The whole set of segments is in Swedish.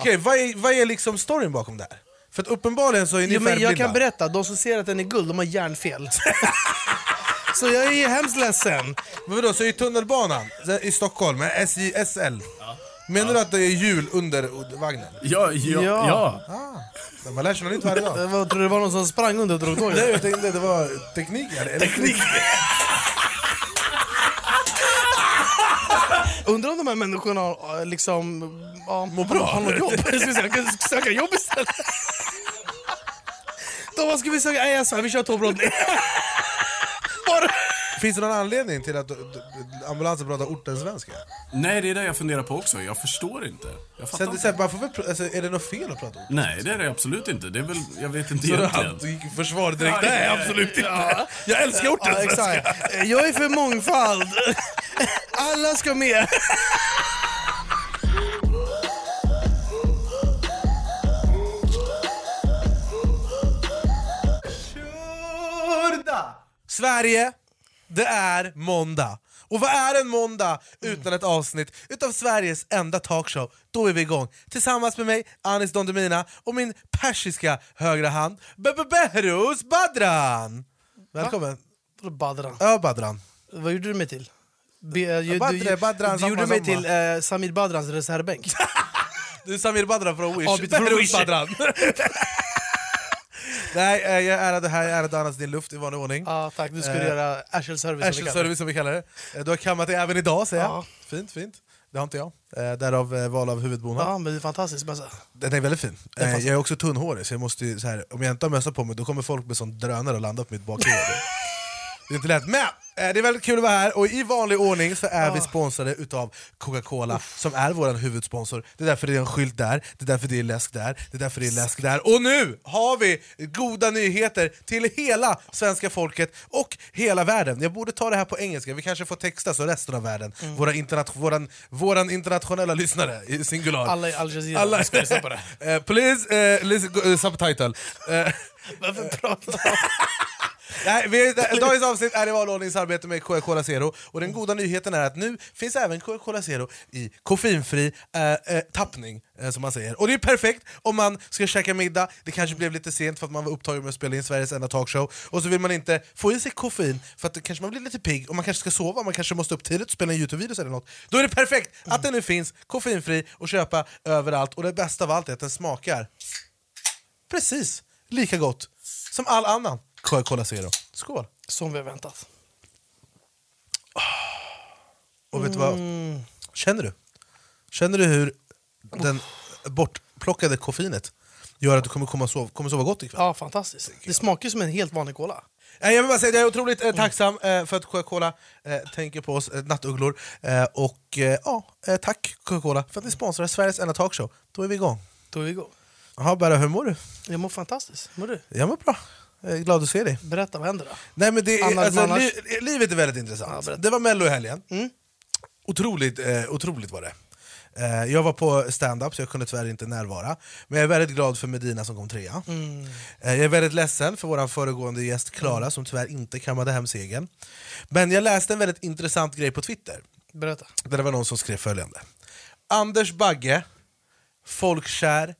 Okej, vad, är, vad är liksom storyn bakom det här? För att uppenbarligen så är ni Jo, men jag färgblinda. kan berätta, de som ser att den är guld, de har hjärnfel. Så jag är ju hemskt ledsen. Men vadå, så i tunnelbanan i Stockholm, med SJ, SL, menar du att det är hjul under vagnen? Ja, ja, Ja. ja. Man lär sig något nytt varje dag. Vad tror du det var någon som sprang under och drog Nej, tåget? jag tänkte det var teknik. Eller? Teknik? Undrar om de här människorna har, eh, liksom... Ja, Mår bra? Har något jobb? Jag skulle säga, jag kan söka jobb istället. Då vad ska vi söka? Nej jag svär, vi kör tågbrott. Bara... Finns det någon anledning till att d- d- ambulansen pratar ortensvenska? Nej, det är det jag funderar på också. Jag förstår inte. Jag fattar Sen, inte. sen, man får väl, pr- alltså, är det något fel att prata orten? Nej, det är det absolut inte. Det är väl, jag vet inte Så då egentligen. han gick i försvar direkt? Ja, Nej, ja, absolut inte! ja. Jag älskar Ja, ortensvenska! exakt. Eh, Jag är för mångfald. Alla ska med. Sverige, det är måndag. Och vad är en måndag utan ett avsnitt utav Sveriges enda talkshow? Då är vi igång. Tillsammans med mig, Anis Don Demina och min persiska högra hand, Be- Be- Behruz Badran! Välkommen. Badran. Ja, Badran. Vad gjorde du mig till? Be, eh, du, Badre, Badran, du samma, gjorde mig samma. till eh, Samir Badrans reservbänk. Du är Samir Badran från Wish. Ja, bytte från Behruz Wish. Badran. Nej, eh, jag är ärad här, jag är ärad Anas din luft i vanlig ordning. Ja, tack. Du skulle Eh, göra Ashel service. Ashel service som vi kallar det. Eh, Du har kammat dig även idag säger jag. Ja. Fint, fint. Det har inte jag. Eh, Därav eh, val av huvudbonad. Ja, men det är fantastiskt. Alltså, Bästa. Den är väldigt fin. Eh, jag är också tunnhårig, så, jag måste ju, så här, om jag inte har mössa på mig då kommer folk med sån drönare och landa på mitt bakhuvud. det är inte lätt. Men eh, det är väldigt kul att vara här, och i vanlig ordning så är vi sponsrade utav Coca-Cola, som är vår huvudsponsor. Det är därför det är en skylt där, det är därför det är läsk där, det är därför det är läsk där. Och nu har vi goda nyheter till hela svenska folket och hela världen. Jag borde ta det här på engelska, vi kanske får texta så resten av världen, våra interna- våran, våran internationella lyssnare i singular. Alla i Al Jazeera Alla- ska lyssna på det. Eh, please, eh, listen, go- eh, subtitle. Eh, Varför pratar du? nej, vi, dagens avsnitt är i valordningsarbete med Coca-Cola Zero. Och den goda nyheten är att nu finns även Coca-Cola Zero i koffeinfri eh, eh, tappning, eh, som man säger. Och det är perfekt om man ska käka middag, det kanske blev lite sent för att man var upptagen med att spela in Sveriges enda talkshow, och så vill man inte få i sig koffein för att då kanske man blir lite pigg, och man kanske ska sova, man kanske måste upp tidigt och spela en Youtube-video eller något. Då är det perfekt att den nu finns koffeinfri och köpa överallt. Och det bästa av allt är att den smakar precis lika gott som all annan Coca-Cola Zero. Skål! Som vi har väntat. Och vet du vad? Känner du? Känner du hur den bortplockade koffinet gör att du kommer, komma sova, kommer sova gott ikväll? Ja, fantastiskt. Det smakar ju som en helt vanlig cola. Nej, Jag vill bara säga att jag är otroligt eh, tacksam eh, för att Coca-Cola eh, tänker på oss eh, nattugglor. Eh, och eh, ja, eh, tack Coca-Cola för att ni sponsrar Sveriges enda talkshow. Då är vi igång. Då är vi igång. Jaha, Berra, hur mår du? Jag mår fantastiskt. Mår du? Jag mår bra. Jag är glad att se dig. Berätta, vad händer då? Nej, men det, är- Annars- alltså, annars- Mm. li, livet är väldigt intressant. det var mello i helgen. Otroligt, eh, otroligt var det. Eh, jag var på stand-up så jag kunde tyvärr inte närvara. Men jag är väldigt glad för Medina som kom trea. Mm. Eh, jag är väldigt ledsen för vår föregående gäst Klara som tyvärr inte kammade hem segern. Men jag läste en väldigt intressant grej på Twitter. Berätta. Där det var någon som skrev följande. Anders Bagge, folkkär,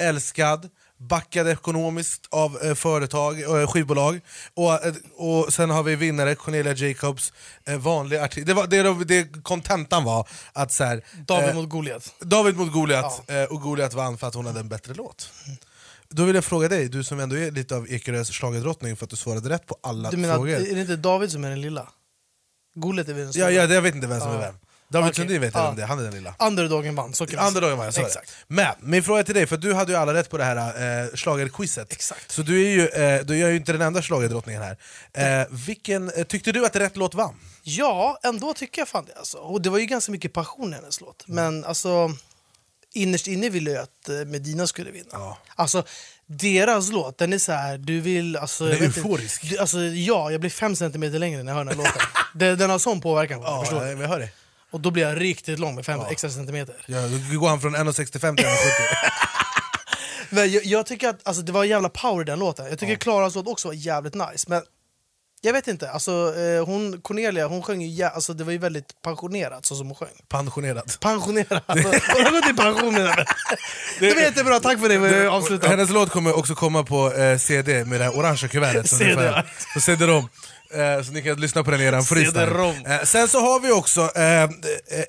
älskad, backad ekonomiskt av eh, företag, eh, skivbolag. Och, eh, och sen har vi vinnare Cornelia Jacobs, eh, vanlig artist. Det, var, det, var- det kontentan var att så här, David eh, mot Goliat. David mot Goliat, eh, och Goliat vann för att hon hade en bättre låt. Då vill jag fråga dig, du som ändå är lite av Ekerös schlagerdrottning för att du svarade rätt på alla Du menar, frågor. är det inte David som är den lilla? Goliat är väl den stora? Ja, ja, jag vet inte vem som är Ja. vem. David Okej. Sundin vet jag vem Ja. det är, han är den lilla. Underdogen vann, så kan vi Underdogen var jag, sa det. Exakt. Men min fråga till dig, för du hade ju alla rätt på det här eh, schlagerquizet. Exakt. Så du är ju, eh, du är ju inte den enda schlagerdrottningen här. Eh, vilken, eh, tyckte du att rätt låt vann? Ja, ändå tycker jag fan det. Alltså. Och det var ju ganska mycket passion i hennes låt. Mm. Men alltså, innerst inne ville jag att eh, Medina skulle vinna. Ja. Alltså, deras låt, den är så här, du vill... Alltså, Den är jag vet inte- euforisk. Du, alltså, ja, jag blir fem centimeter längre när jag hör den här låten. den, den har sån påverkan på mig, förstår du? eh, jag hör det. Och då blir jag riktigt lång med fem extra centimeter. Ja, Mm. då går han från 1,65 till 1,70. Men jag, jag tycker att alltså, det var en jävla power i den låten. Jag tycker Klaras låt också var jävligt nice. Men Jag vet inte, alltså, eh, hon, Cornelia hon sjöng ju, jä- alltså, det var ju väldigt pensionerat så som hon sjöng. Pensionerad. Pensionerad. Alltså, hon har gått i pension nu. Det var jättebra, tack för det. Vi avslutar. Hennes låt kommer också komma på eh, CD med det här orangea kuvertet. som ni får här. Så CD-ROM. Eh, så ni kan lyssna på den i eran freestyle. CD-ROM. Eh, sen så har vi också eh,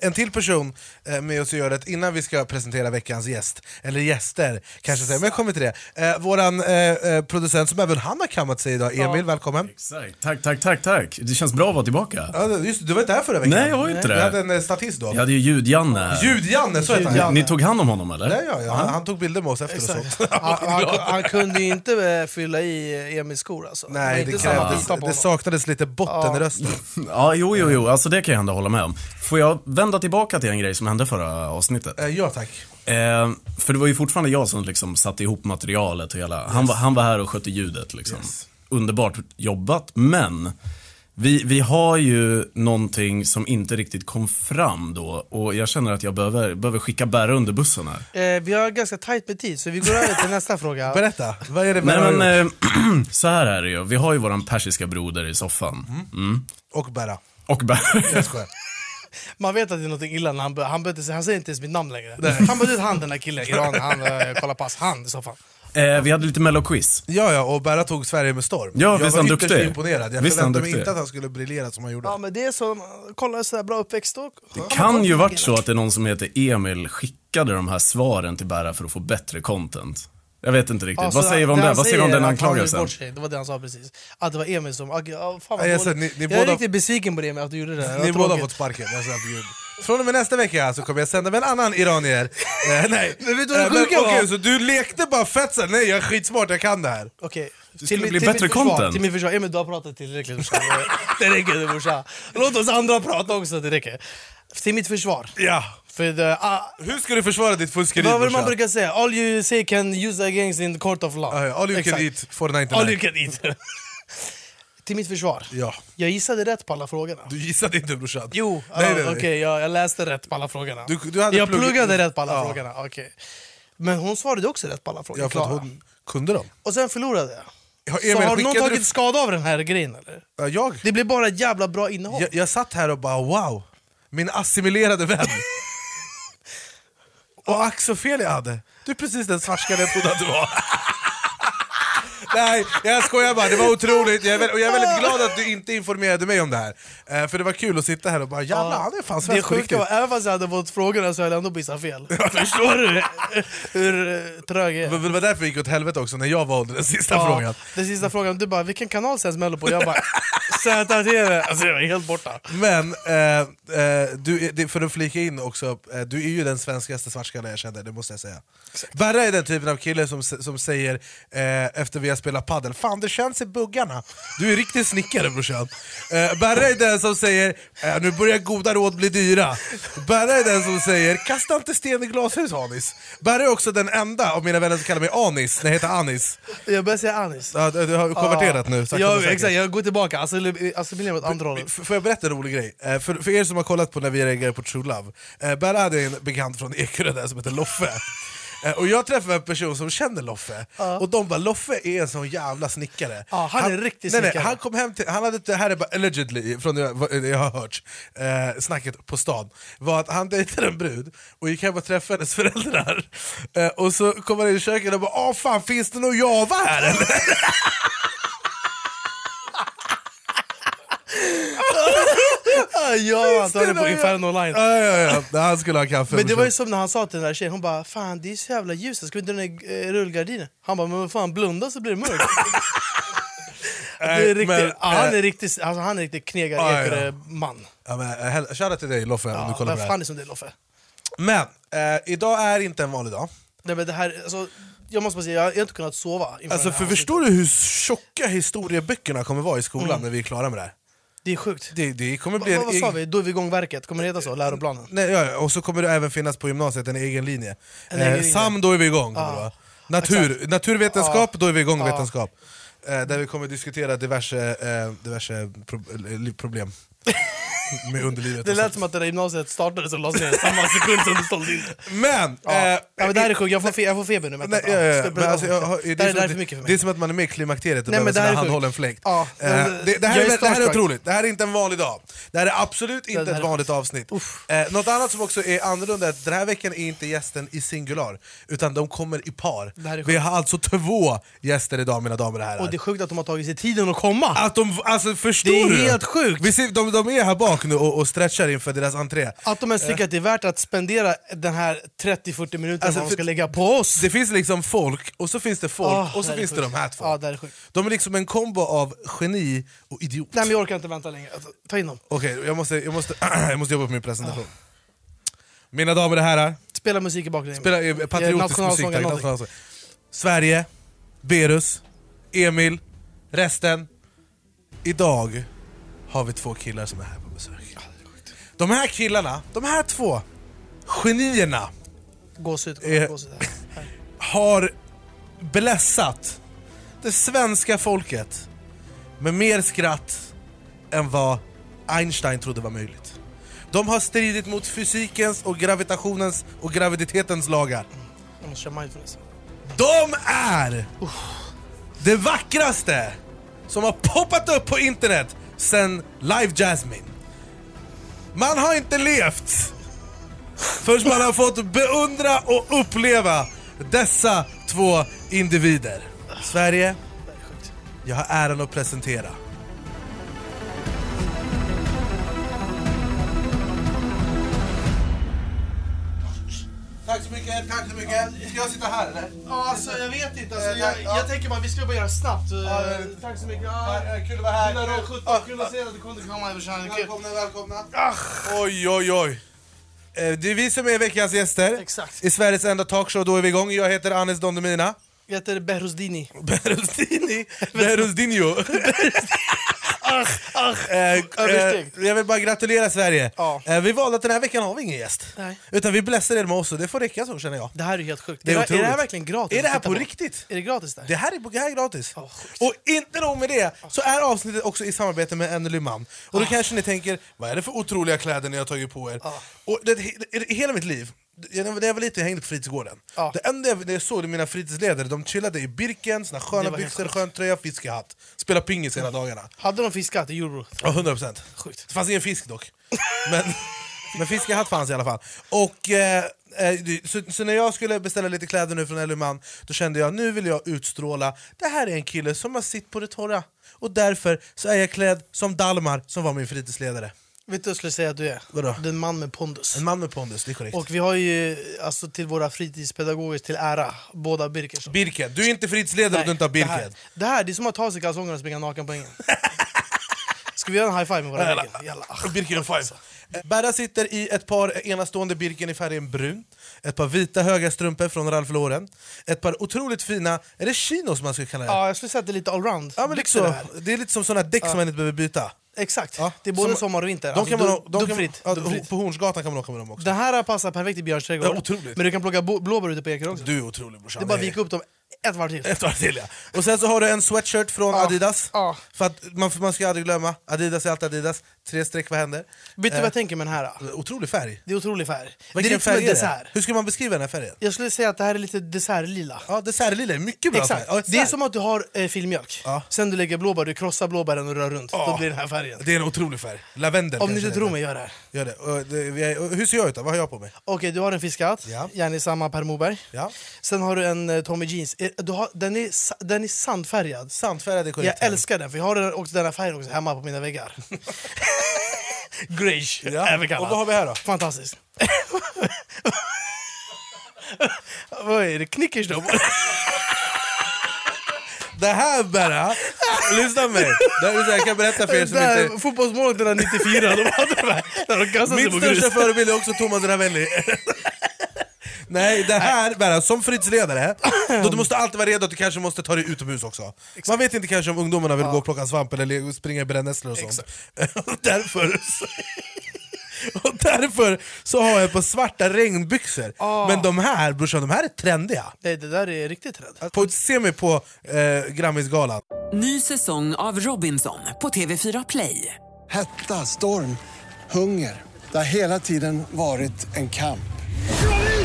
en till person eh, med oss i göret innan vi ska presentera veckans gäst. Eller gäster, kanske säga. men jag kommer till det. Eh, våran eh, eh, producent som även han har kammat sig idag, Emil, välkommen. Exakt. Tack, tack, tack, tack. Det känns bra att vara tillbaka. Ja, just, det, du var inte här förra veckan. Nej, jag var ju inte Vi det. hade en eh, statist då. Jag hade ju ljud-Janne här. Ljud-Janne, så hette han. Ni tog hand om honom eller? Ja, ja, ja. Han, han tog bilder med oss efter och sånt. Han, han, han kunde ju inte eh, fylla i eh, Emils skor alltså. var Nej, inte det, samma krävdes, pipa på det honom. saknades lite botten i rösten. Ja, jo, jo, jo. Alltså det kan jag ändå hålla med om. Får jag vända tillbaka till en grej som hände förra avsnittet? Eh, ja, tack. Eh, för det var ju fortfarande jag som liksom satte ihop materialet och hela. Han, var, han var här och skötte ljudet liksom. Underbart jobbat, men vi, vi har ju någonting som inte riktigt kom fram då och jag känner att jag behöver, behöver skicka bära under bussen här. Eh, vi har ganska tajt med tid så vi går över till nästa fråga. Berätta, vad är det med Nej men, och- eh, så här är det ju. Vi har ju våran persiska broder i soffan. Mm. och bära? Och bära. Jag skojar. Man vet att det är något illa när han, bör- han, bör inte- han säger inte ens mitt namn längre. Han bara ut han den där killen, Iran, han eh, kollar pass, han i soffan. Eh, vi hade lite melloquiz. Ja, ja, och Berra tog Sverige med storm. Ja, jag visst är var han ytterst duktig? imponerad. Jag Visst är han förväntade mig duktig? inte att han skulle briljera som han gjorde. Ja men det är så, kolla sådär bra uppväxt då. Kan ju varit så att det är någon som heter Emil skickade de här svaren till Berra för att få bättre content. Jag vet inte riktigt. Ja, så Vad säger vi om Alltså, det? han Vad säger vi om säger den att han har gjort anklagelsen? bort sig, Det var det han sa precis. Att det var Emil som... ah, gud, ah, fan vad Ja, jag ser, dåligt. ni- ni jag är båda- riktigt besviken på det med att du gjorde det. där. Det var Ni båda har tråkigt. fått sparken. Jag svär på Gud. Från och med nästa vecka så kommer jag sända med en annan iranier. Eh, nej. Men vet du vad det Eh, men sjuka var? okej, Så du lekte bara fett såhär, nej jag är skitsmart, jag kan det här. Okej. skulle Till min- bli till mitt bättre försvar- content. Till min försvar, Emil du har pratat tillräckligt brorsan. Det räcker det brorsan. Låt oss andra prata också, det räcker. Till mitt försvar. Ja. För det, ah, Hur ska du försvara ditt fuskeri vad var det man brorsan? Ah, brukar säga? All you say can use against in court of law. Ja, ja, All you Exakt. can eat, 499. All you can eat. till mitt försvar. Ja. Jag gissade rätt på alla frågorna. Du gissade inte brorsan. Jo, Nej, ja, nej, nej. okej, jag, jag läste rätt på alla frågorna. Du- du hade jag pluggat- pluggade rätt på alla Ja. frågorna. okej. Men hon svarade också rätt på alla frågor. Ja, för att Klara. hon kunde dem. Och sen förlorade jag. Ja, Så Emil, har någon skickade du- tagit skada av den här grejen eller? Ja, Jag? Det blir bara ett jävla bra innehåll. Jag, jag satt här och bara wow, min assimilerade vän. och ack så fel jag hade. Du är precis den svartskalle jag trodde att du var. Nej, jag skojar bara. Det var otroligt. Jag är, väl, och jag är väldigt glad att du inte informerade mig om det här. Eh, för det var kul att sitta här och bara jävlar, han är fan det svensk på sjuka riktigt. var, även fast jag hade fått frågorna så hade jag ändå gissat fel. Förstår du hur eh, trög jag Det är? var därför det gick åt helvete också när jag valde den sista frågan. Den sista frågan, du bara “Vilken kanal sänds Mello på?” Jag bara “ZTV”. Alltså jag är helt borta. Men, eh, eh, du, är- det- för att flika in också, eh, du är ju den svenskaste svartskalle jag känner, det måste jag säga. Berra är den typen av kille som, s- som säger eh, efter vi har spelat padel, Fan det känns i buggarna, du är riktigt snickare brorsan. Eh, Berra är den som säger, eh, nu börjar goda råd bli dyra. Berra är den som säger, kasta inte sten i glashus Anis. Berra är också den enda av mina vänner som kallar mig Anis, när jag heter Anis. Jag börjar säga Anis. Ja, du du har konverterat nu. sakta men jag, säkert. exakt, jag går tillbaka, alltså, assimilerar åt andra hållet. F- Får jag berätta en rolig grej? Eh, För, för er som har kollat på när vi reagerade på True Love, eh, Berra hade en bekant från Ekerö där som heter Loffe. Eh, Och jag träffade en person som känner Loffe, och de bara Loffe är en sån jävla snickare. Ja, han är en riktig nej, nej, snickare. Han kom hem till, han hade, det här är bara allegedly, från det jag, vad jag har hört, eh, snacket på stan, var att han dejtade en brud och gick hem och träffade hennes föräldrar. Eh, och så kom han in i köket och bara Åh fan, finns det någon Java här eller? Ah, ja, Finns det antagligen på någon- Inferno online. Ja, ja, ja. Nej, Han skulle ha kaffe. Men det var ju brorsan. som när han sa till den där tjejen, hon bara “Fan det är så jävla ljust, ska vi inte dra ner eh, rullgardinen?” Han bara “Men vad fan, blunda så blir det mörkt” det är Nej, riktigt, men, ja, han, eh, är riktigt, alltså, han är riktigt knegare Ja, ja. Ekerö man Ja, men, eh, hell- Shoutout till dig Loffe om du ja, kollar Vem på det fan här. är som det Loffe? Men eh, idag är inte en vanlig dag. Nej, men det här, alltså, jag måste bara säga, jag har inte kunnat sova inför Alltså, det här för avsnittet. förstår du hur tjocka historieböckerna kommer vara i skolan när vi är klara med det här? Det är sjukt Det, det kommer Mm. Va, bli va, en Alltså- Vad sa egen... vi? Då är vi igångverket, kommer det heta så? Läroplanen? Nej, ja, ja, och så kommer det även finnas på gymnasiet en egen linje. En egen eh, linje. Ah, SAM, då är vi igång. kommer Ja. det vara. Natur, naturvetenskap, Ah, då är vi igång vetenskap. Eh, där vi kommer diskutera diverse, eh, diverse pro- eh, li- problem. med underlivet. Det och lät sånt. som att det där gymnasiet startade så lades ner i samma sekund som det sålde in. Men! Ja. eh, ja, men det här är sjukt, jag får, fe- jag får feber nu. vänta. Nej, ja, ja, ja. Ska jag Men börja alltså, om? jag har- det, är här är som- där för mycket för Det mig. är som att man är med i klimakteriet och Nej, men behöver det här en är sjukt. handhållen fläkt. Ja, Eh, men- det, det, här jag är är, det här är starstruck. otroligt, det här är inte en vanlig dag. Det här är absolut inte det här ett är- vanligt avsnitt. Eh, något annat som också är annorlunda är att den här veckan är inte gästen i singular, utan de kommer i par. Det här är Vi har alltså två gäster idag mina damer och herrar. Och det är sjukt att de har tagit sig tiden att komma. Att de, alltså förstår Det är du? helt sjukt. Vi ser, de, de är här bak nu och, och stretchar inför deras entré. Att de ens tycker att det är värt att spendera den här 30-40 minuterna Alltså, man för- ska lägga på oss. Det finns liksom folk, och så finns det folk, Ah, och så här är finns det sjukt. de här två. Ja, det här är sjukt. De är liksom en kombo av geni och idiot. Nej men jag orkar inte vänta längre. Alltså, Ta in dem. Okej, jag, måste, jag, måste, jag måste jobba på min presentation. Mina damer och herrar, Spela musik i bakgrunden. spela eh, patriotisk nationalsång musik. eller tack, någonting. nationalsång. Sverige, Berus, Emil, resten. Idag har vi två killar som är här på besök. De här killarna, de här två genierna Gåshud, Eh. gåshud. här. har blässat det svenska folket med mer skratt än vad Einstein trodde var möjligt. De har stridit mot fysikens och gravitationens och graviditetens lagar. Jag måste köra mindfulness. De är det vackraste som har poppat upp på internet sen Live Jasmine. Man har inte levt förrän man har fått beundra och uppleva dessa två individer. Sverige, Det här är sjukt. jag har äran att presentera. Tack så mycket, tack så mycket. Ska jag sitta här eller? Ja, alltså, jag vet inte. Alltså, jag- jag tänker bara vi skulle bara göra snabbt. Eh, tack så mycket. Kul att vara här. Kul att se att du kunde komma. Välkomna, välkomna. Oj, oj, oj. Eh, Det är vi som är veckans gäster. Exakt. I Sveriges enda talkshow, då är vi igång. Jag heter Anis Don Demina. Jag heter Berusdini. Berusdini? Berusdinho. Eh, eh, Översteg. Jag vill bara gratulera Sverige. Ja. Eh, Vi valde att den här veckan har vi ingen gäst. Nej. Utan vi blessar er med oss och det får räcka så känner jag. Det här är helt sjukt. Det är är, det här otroligt. verkligen gratis? Är det här att titta på riktigt? Är det gratis där? Det här är, det här är gratis. Ja, sjukt. och inte nog med det, så är avsnittet också i samarbete med Anneli Man. Och Ah. då kanske ni tänker, vad är det för otroliga kläder ni har tagit på er? Ja. Och det, det, i hela mitt liv, det- när jag var liten jag hängde på fritidsgården. Ja. Det enda jag, det jag såg det mina fritidsledare, de chillade i Birken, sina Det sköna var helt byxor, sjukt. skön tröja, fiskehatt. Spela pingis hela dagarna. Hade de fiskat i euro? Ja, 100 procent. Sjukt. Det fanns ingen fisk dock. Men, men fiskehatt fanns i alla fall. Och, eh, eh, så, så när jag skulle beställa lite kläder nu från Elluman, då kände jag nu vill jag utstråla, det här är en kille som har sitt på det torra. Och därför så är jag klädd som Dalmar som var min fritidsledare. Vet du vad jag skulle säga att du är? Vadå? Du är en man med pondus. En man med pondus, det är korrekt. Och vi har ju, alltså till våra fritidspedagoger till ära, båda Birkers. Birked, du är inte fritidsledare om du inte har det, här, Birked. det här det är som att ta av sig kalsongerna och springa naken på ängen. Ska vi göra en high five med våra Jalla. Birker? Jalla. Alltså. Birken five. Berra sitter i ett par enastående Birken i färgen brun, ett par vita höga strumpor från Ralph Lauren, ett par otroligt fina, är det chinos man skulle kalla det? Ja, jag skulle säga att det är lite allround. Ja, men lite Byxor så, det här. det är lite som såna däck som man inte behöver byta. Exakt. Ja, Det är både som- sommar och vinter. De kan man, alltså, ha- de kan, dubbfritt. ja, dubbfritt. på Hornsgatan kan man åka med dem också. Den här passar perfekt i Björns trädgård. Ja, otroligt. Men du kan plocka bo- blåbär ute på Ekerö också. Du är otrolig brorsan. det är bara att Nej. vika upp dem ett varv till. Ett varv till ja. Och sen så har du en sweatshirt från Ja, Adidas. ja. För att man, man ska aldrig glömma, Adidas är alltid Adidas. Tre streck, vad händer? Vet du vad Eh, jag tänker med den här? då? Otrolig färg. Det är otrolig färg. Vilken Direkt som färg en är det? dessert. Hur ska man beskriva den här färgen? Jag skulle säga att det här är lite dessertlila. Ja, dessertlila, är mycket bra Exakt. färg. Ja, Det är som att du har eh, filmjölk. Ja. Sen du lägger blåbär, du krossar blåbären och rör runt. Ja. Då blir den här färgen. Det är en otrolig färg. Lavendel Om ni kanske inte det tror heter. mig, gör det här. Gör det. Och det- vi är- och Hur ser jag ut då? Vad har jag på mig? Okej, du har en fiskhatt, Ja. gärna i samma Per Moberg. Ja. Sen har du en eh, Tommy Jeans. Eh, Du har, den, är, sa- den är sandfärgad. Sandfärgad är korrekt. Jag älskar den, för jag har den, också den här färgen också hemma på mina väggar. Greige, Ja. även kallad. Och vad har vi här då? Fantastiskt. vad är det? Knickers då? Det här bara, lyssna på mig. Det här, är så här, jag kan berätta för er som Där, inte... Fotbollsmålvakterna 94, de hade de här. När de kastade sig på Min grus. största förebild är också Thomas Ravelli. Nej, det här bara, som fritidsledare, då du måste alltid vara redo att du kanske måste ta dig utomhus också. Man vet inte kanske om ungdomarna vill gå och plocka svamp eller le- springa i brännässlor och sånt. Och därför, så, och därför så har jag på svarta regnbyxor. Ah. Men de här brorsan, de här är trendiga. Nej, det där är riktigt rädd. På, se mig på eh, Grammisgalan. Ny säsong av Robinson på TV4 Play. Hetta, storm, hunger. Det har hela tiden varit en kamp.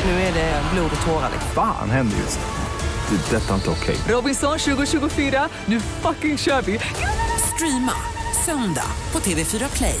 Nu är det blod och tårar. liksom. Fan händer just nu. Det. är Detta är inte okej. Robinson 2024, nu fucking kör vi! Streama söndag på TV4 Play.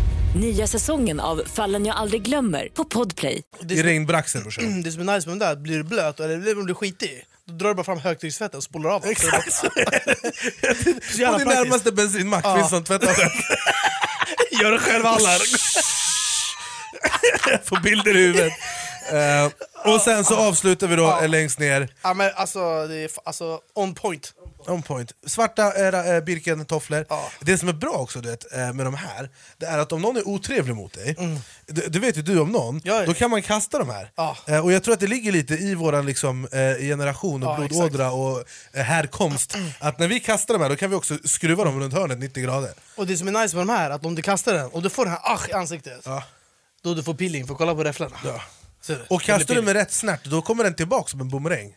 Nya säsongen av Fallen jag aldrig glömmer på Podplay. I regnbraxen brorsan. Det som är nice med den där, blir du blöt eller om du är skitig, då drar du bara fram högtryckstvätten och spolar av den. Exakt! Så det är så På jävla din praktiskt. närmaste bensinmack finns som tvättar den. Gör det själv alla! Får bilder i huvudet. Eh, och sen så avslutar vi då eh, längst ner. Ja, men alltså, det är fa- alltså on point. On point. Svarta äh, Birken-tofflor. Ja. Det som är bra också du vet, eh, med de här, det är att om någon är otrevlig mot dig, det, det vet ju du om någon, Mm. Ja, ja. då kan man kasta de här. Ja. Eh, och jag tror att det ligger lite i vår liksom, eh, generation och Ja, Mm. blodådra och eh, härkomst, att när vi kastar de här då kan vi också skruva dem runt hörnet 90 grader. Och det som är nice med de här, att om du kastar den och du får den här ach i ansiktet, då du får peeling, för kolla på räfflorna. Ja. Ser du? Och Det blir kastar du peeling. med rätt snärt, då kommer den tillbaka som en bumerang.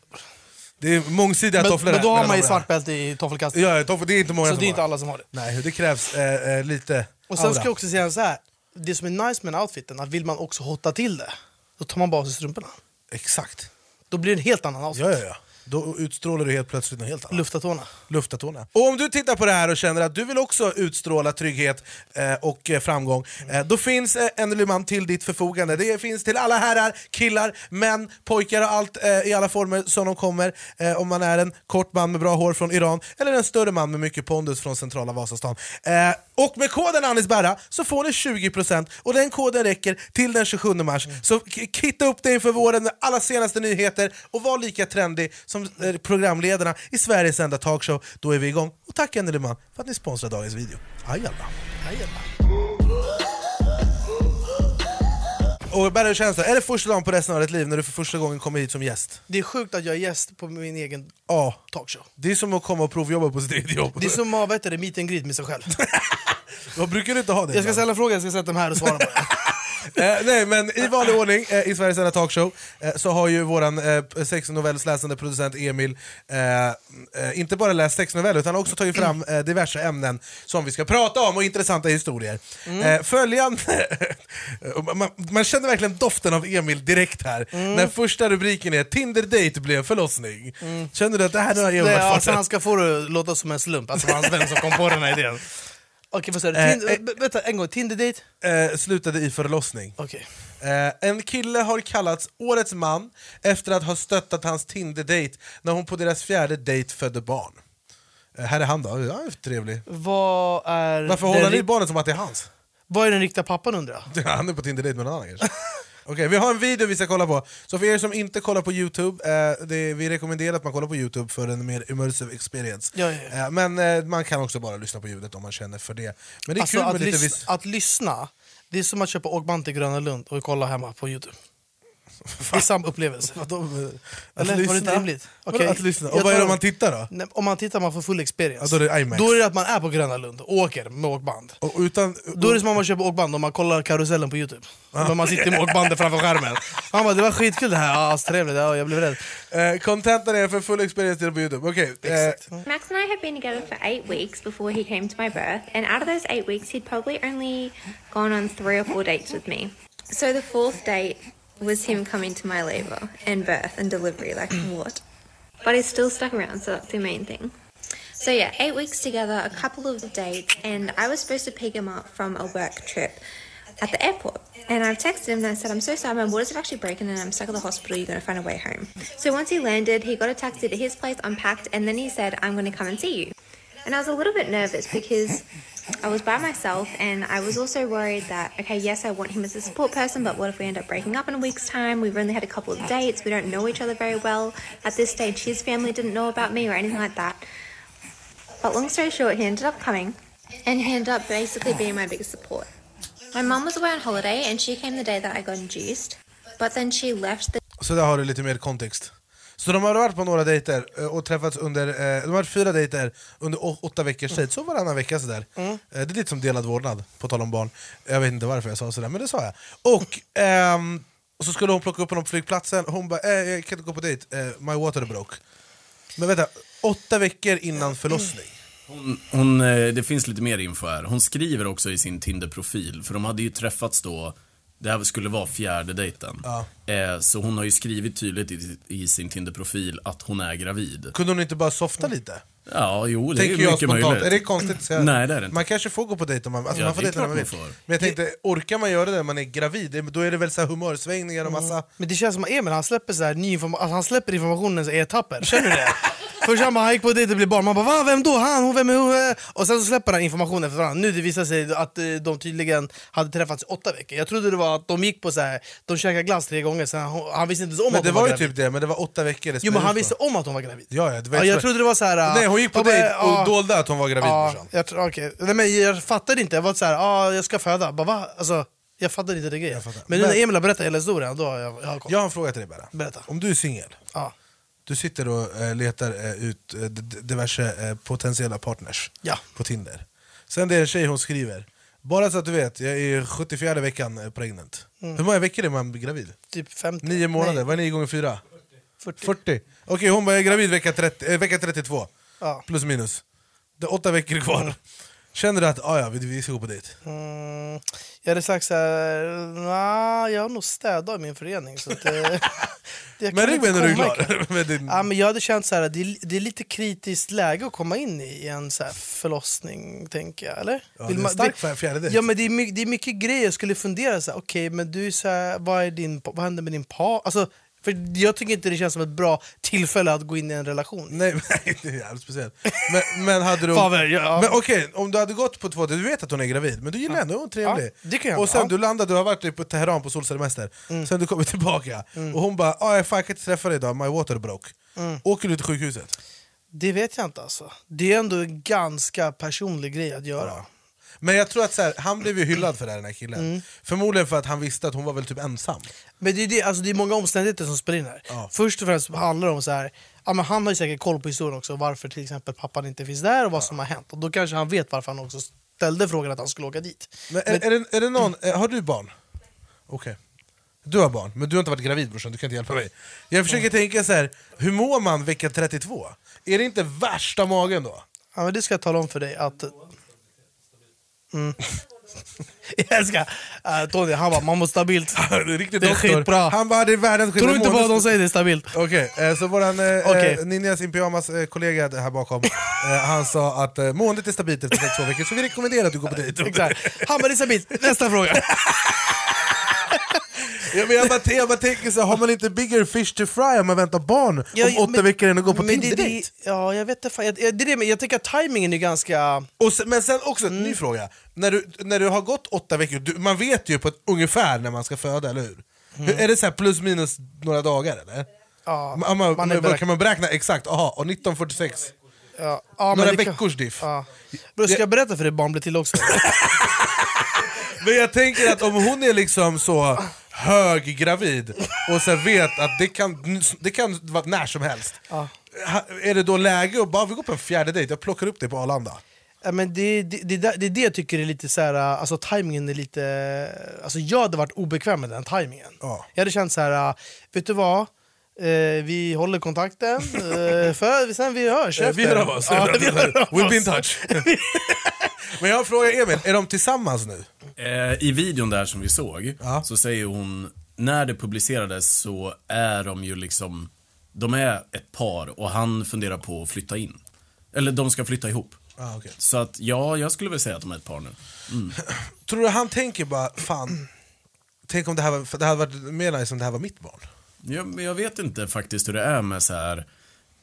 Det är mångsidiga tofflor men, men här, då har mellan man ju de här. svart bälte i toffelkast. Ja, ja, tofflor, det är inte många så som det är har. inte alla som har det. Nej, det krävs eh, eh, lite Och sen aura. ska jag också säga så här, det som är nice med den här outfiten, att vill man också hotta till det, då tar man bara av sig strumporna. Exakt. Då blir det en helt annan outfit. Ja, ja, ja. Då utstrålar du helt plötsligt något helt annat. Lufta tårna. Lufta tårna. Och om du tittar på det här och känner att du vill också utstråla trygghet eh, och eh, framgång, eh, då finns eh, en Lyman till ditt förfogande. Det finns till alla herrar, killar, män, pojkar och allt eh, i alla former som de kommer. Eh, om man är en kort man med bra hår från Iran eller en större man med mycket pondus från centrala Vasastan. Eh, och med koden Anisberra så får ni 20% och den koden räcker till den 27 mars. Mm. Så k- kitta upp dig inför våren med alla senaste nyheter och var lika trendig som eh, programledarna i Sveriges enda talkshow. Då är vi igång. Och tack Enderlyman för att ni sponsrar dagens video. Ajalla. Och Berra, hur känns det? Är det första dagen på resten av ditt liv när du för första gången kommer hit som gäst? Det är sjukt att jag är gäst på min egen Ja. talkshow. Det är som att komma och provjobba på sitt eget jobb. Det är som att vet du, det, meet and greet med sig själv. Vad brukar du inte ha det? Jag ska ibland? ställa en fråga, jag ska sätta dem här och svara på den. Eh, nej, men i vanlig ordning eh, i Sveriges enda talkshow eh, så har ju våran eh, sexnovellsläsande producent Emil eh, eh, inte bara läst sexnoveller utan också tagit fram eh, diverse ämnen som vi ska prata om och intressanta historier. Eh, följande... man, man känner verkligen doften av Emil direkt här när första rubriken är Tinder date blev förlossning. Känner du att det här nu har Emil Nej, varit alltså, farsen? han ska få det att låta som en slump, alltså det var hans vän som kom på den här idén. Okej, vad sa du? Eh, Tind- eh. vä- Vänta, en gång. Tinder-date? eh, slutade i förlossning. Okej. Eh, en kille har kallats årets man efter att ha stöttat hans Tinder-dejt när hon på deras fjärde dejt födde barn. Eh, här är han då, ja, trevlig. Vad är... Varför den håller ni ri- barnet som att det är hans? Vad är den riktiga pappan undrar jag? Han är på Tinder-dejt med någon annan kanske. Okej, vi har en video vi ska kolla på. Så för er som inte kollar på Youtube, eh, det, vi rekommenderar att man kollar på Youtube för en mer immersive experience. Ja, ja, ja. Eh, men eh, man kan också bara lyssna på ljudet om man känner för det. Men det är Alltså, kul att, med lite lys- viss... att lyssna, det är som att köpa åkband till Gröna Lund och kolla hemma på Youtube. Det är samma upplevelse. Att Eller? Var det lyssna? inte rimligt? Vadå Okej. Att lyssna. Och Jag vad är tar- det om man tittar då? Nej, Om man tittar man får full experience. Ja, då är det IMAX. Då är det att man är på Gröna Lund och åker med åkband. Och utan, Då är det som om man köper åkband och man kollar karusellen på Youtube. Ah. Men man sitter med åkbandet framför skärmen. Han bara, det var skitkul det här, ja, trevligt, ja, jag blev rädd. Eh, Contenten är för full experience till på Youtube. Okej, eh, Max and I had been together for eight weeks before he came to my birth, and out of those eight weeks, he'd probably only gone on three or four dates with me. So the fourth date was him coming to my labour and birth and delivery, like what? But he's still stuck around, so that's the main thing. So yeah, eight weeks together, a couple of dates, and I was supposed to pick him up from a work trip at the airport. And I texted him and I said, I'm so sorry, my waters have actually broken and I'm stuck at the hospital. You're going to find a way home. So once he landed, he got a taxi to his place, unpacked, and then he said, I'm going to come and see you. And I was a little bit nervous because I was by myself and I was also worried that, okay, yes, I want him as a support person, but what if we end up breaking up in a week's time? We've only had a couple of dates. We don't know each other very well. At this stage, his family didn't know about me or anything like that. But long story short, he ended up coming and he ended up basically being my biggest support. My mum was away on holiday and she came the day that I got induced. but then she left the Så där har du lite mer kontext. Så de har varit på några dejter eh, och träffats under, eh, de har varit fyra dejter under å- åtta veckors tid, så varannan vecka sådär. Eh, Det är lite som delad vårdnad, på tal om barn. Jag vet inte varför jag sa sådär, men det sa jag. Och, ehm, och så skulle hon plocka upp honom på flygplatsen, hon bara eh, “jag kan inte gå på dejt, eh, my water broke”. Men vänta, åtta veckor innan förlossning. Hon, hon, eh, det finns lite mer info här. Hon skriver också i sin Tinder-profil, för de hade ju träffats då, det här skulle vara fjärde dejten. Eh, så hon har ju skrivit tydligt i, i sin Tinder-profil att hon är gravid. Kunde hon inte bara softa lite? Ja, jo, det Tänker är jag mycket spontant. möjligt. Är det konstigt att säga? Nej, det är det inte. Man kanske får gå på dejt om man, alltså Ja, man får det är dejta när man klart vill. man Men får. jag tänkte, orkar man göra det när man är gravid? Det- Då är det väl så här humörsvängningar och massa... Men det känns som att Emil han släpper, så här, ny informa- alltså, han släpper informationen så här i etapper. Känner du det? Först han bara, han gick på dejt och blev barn. Man bara, Va? vem då? Han? Hon? Vem är hon? Eh, Och sen så släpper han informationen för varandra. Nu det visar sig att eh, de tydligen hade träffats i åtta veckor. Jag trodde det var att de gick på så här, de käkade glass tre gånger, sen han, han visste inte ens om Men att det hon var, var ju gravid. typ det, men det var åtta veckor det Jo men spelades han på. visste om att hon var gravid. Ja, ja, det var Ja, jag extra- trodde det var så här... Nej, hon gick på ja, men, dejt och ja. dolde att hon var gravid Ja, brorsan. jag, tr- okej. Nej, men jag fattade inte, jag var så här, ah, jag ska föda. Bara, va? Alltså, jag fattade inte det grejen. Men nu när Men- Emil har berättat hela historien, då har jag, jag har koll. Jag har en fråga till dig bara. Berätta. Om du är singel, Ja. du sitter och eh, letar eh, ut eh, d- d- diverse eh, potentiella partners Ja. på Tinder. Sen det är en tjej hon skriver, bara så att du vet, jag är i 74 veckan eh, pregnant. Mm. Hur många veckor är man gravid? Typ 50. Nio månader, Nej, vad är nio gånger fyra? 40. 40. Okej, hon bara, jag är gravid vecka, 30, eh, vecka 32. Ja. Plus minus. Det är åtta veckor kvar. Känner du att, ah, ja, vi, vi ska gå på dejt? Mm, jag hade sagt såhär, nah, jag har nog städat i min förening. Så att, det, det kan Men ring inte mig när du är komma klar. med din... Ja, men jag hade känt så här, det, är- det är lite kritiskt läge att komma in i i en så här förlossning, tänker jag. Eller? Ja, det är en liksom. stark fjär- fjärde dejt. Ja, men det är, my, det är mycket grejer jag skulle fundera så här, okej, men du är så här, vad, är din, pa- vad händer med din par? Alltså, för jag tycker inte det känns som ett bra tillfälle att gå in i en relation. Nej, nej det är jävligt speciellt. Men, men hade du... Faber, ja. men okej, om du hade gått på två... Du vet att hon är gravid, men du gillar henne, hon är trevlig. Ja, det kan jag och sen ja. Mm. du landar, du har varit typ på Teheran på solsemester, sen du kommer tillbaka och hon bara ah, jag fan, jag kan inte träffa dig idag, my water broke. Mm. Åker du till sjukhuset? Det vet jag inte alltså. Det är ändå en ganska personlig grej att göra. Men jag tror att så här, han blev ju hyllad för det här, den här killen. Mm. Förmodligen för att han visste att hon var väl typ ensam. Men det är, det, alltså det är många omständigheter som spelar in här. Först och främst handlar det om så här, ja, men han har ju säkert koll på historien också, varför till exempel pappan inte finns där och vad som har hänt. Och då kanske han vet varför han också ställde frågan att han skulle åka dit. Men är, är, det, är det någon, eh, har du barn? Okej. Du har barn, men du har inte varit gravid brorsan, du kan inte hjälpa mig. Jag försöker tänka så här, hur mår man vecka 32? Är det inte värsta magen då? Ja, men det ska jag tala om för dig att... Mm. Jag älskar uh, Tony, han bara man måste stabilt. det är riktigt det är doktor. skitbra. Han bara det är världens skit. Tror inte på vad de säger, det är stabilt. Okej, eh, så våran eh, Okej. eh, Ninjas in pyjamas eh, kollega här bakom, eh, han sa att eh, måendet är stabilt efter sex, två veckor, så vi rekommenderar att du går på dejt. Exakt. Han bara det är stabilt, nästa fråga. Ja, men jag, bara, jag bara tänker så här, har man inte bigger fish to fry om man väntar barn Ja, om åtta men- veckor än att gå på men det- det- Tinder-dejt? Ja, jag vet inte. fan. Jag, jag, det är det, men jag tänker att tajmingen är ganska... Och sen, men sen också en Mm. ny fråga. När du, när du har gått åtta veckor, du, man vet ju på ett, ungefär när man ska föda, eller hur? Hur- Är det så här plus minus några dagar eller? Mm. Ja, man, man, man är man, beräknad. kan man beräkna exakt? Aha, och 1946. Ja, ja, men några det kan- veckors diff. Ja. Bro, ska jag berätta för dig barn blir till också? Men jag tänker att om hon är liksom så höggravid och så här vet att det kan, det kan vara när som helst. Ja. Ha- Är det då läge att bara vi går på en fjärde dejt, jag plockar upp dig på Arlanda. Ja, men det, det, det, där- det är det jag tycker är lite så här, alltså tajmingen är lite... Alltså jag hade varit obekväm med den tajmingen. Ja. Jag hade känt så här, vet du vad? Eh, vi håller kontakten, eh, för sen vi hörs alltså. Eh, efter. Vi hör av oss. Ja, vi hör av We'll be in oss. touch. Men jag frågar Emil, är de tillsammans nu? Eh, I videon där som vi såg, så säger hon, när det publicerades så är de ju liksom, de är ett par och han funderar på att flytta in. Eller de ska flytta ihop. Ah, okej. Så att ja, jag skulle väl säga att de är ett par nu. Mm. Tror du han tänker bara, fan, tänk om det här, var, för det hade varit mer nice om det här var mitt barn? Jag, men jag vet inte faktiskt hur det är med så här.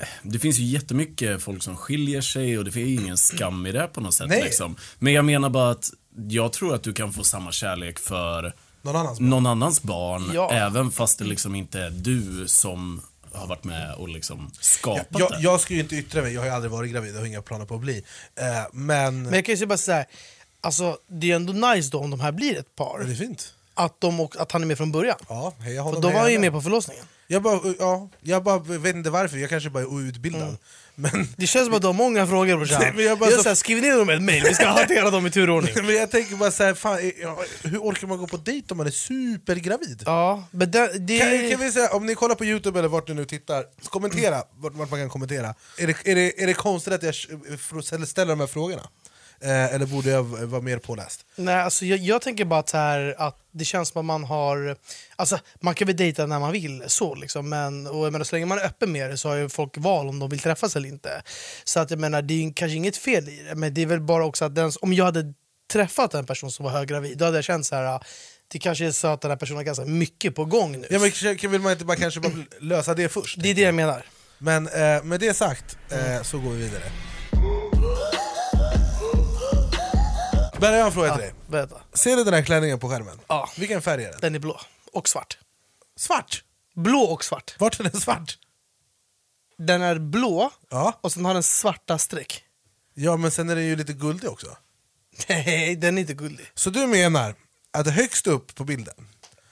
eh, Det finns ju jättemycket folk som skiljer sig och det finns ju ingen skam i det på något sätt. Nej. Liksom. Men jag menar bara att jag tror att du kan få samma kärlek för Någon annans barn. någon annans barn, Ja. även fast det liksom inte är du som har varit med och liksom skapat Mm. Jag, det. jag ska ju inte yttra mig, jag har ju aldrig varit gravid och har inga planer på att bli. Eh, men... Men jag kan ju säga bara så här, alltså, det är ändå nice då om de här blir ett par. Det är fint. att, de, och- att han är med från början. Ja, jag För håller då med var han ju henne. med på förlossningen. Jag, bara, ja, jag bara vet inte varför, jag kanske bara är outbildad. Mm. Men... Det känns som att du har många frågor brorsan. Nej, men jag jag bara jag så- så... här, skriv ner dem i ett mejl, vi ska hantera dem i turordning. Men jag tänker bara så här, fan, eh, ja, hur orkar man gå på dejt om man är supergravid? Ja, men det... kan, kan vi säga, om ni kollar på Youtube eller vart ni nu tittar, så Mm. kommentera vart, vart man kan kommentera. Är det, är det, är det konstigt att jag eh, fr- ställer de här frågorna? Eh, eller borde jag v- vara mer påläst? Nej, alltså jag, jag tänker bara att, så här, att det känns som att man har... Alltså, man kan väl dejta när man vill, så liksom, men och jag menar, så länge man är öppen med det så har ju folk val om de vill träffas eller inte. Så att jag menar, det är ju kanske inget fel i det, men det är väl bara också att den, om jag hade träffat en person som var höggravid, då hade jag känt så här... ah, Det kanske är så att den här personen har ganska mycket på gång nu. Ja, men kanske- kan- vill man inte bara, kanske bara lösa det först? Det är det jag menar. Men eh, med det sagt eh, så går vi vidare. Berra, jag har en fråga till dig. Berätta. Ser du den här klänningen på skärmen? Ja. Vilken färg är den? Den är blå och svart. Svart? Blå och svart. Vart är den svart? Den är blå Ja. och sen har den svarta streck. ja, men sen är den ju lite guldig också. Nej, den är inte guldig. Så du menar att högst upp på bilden,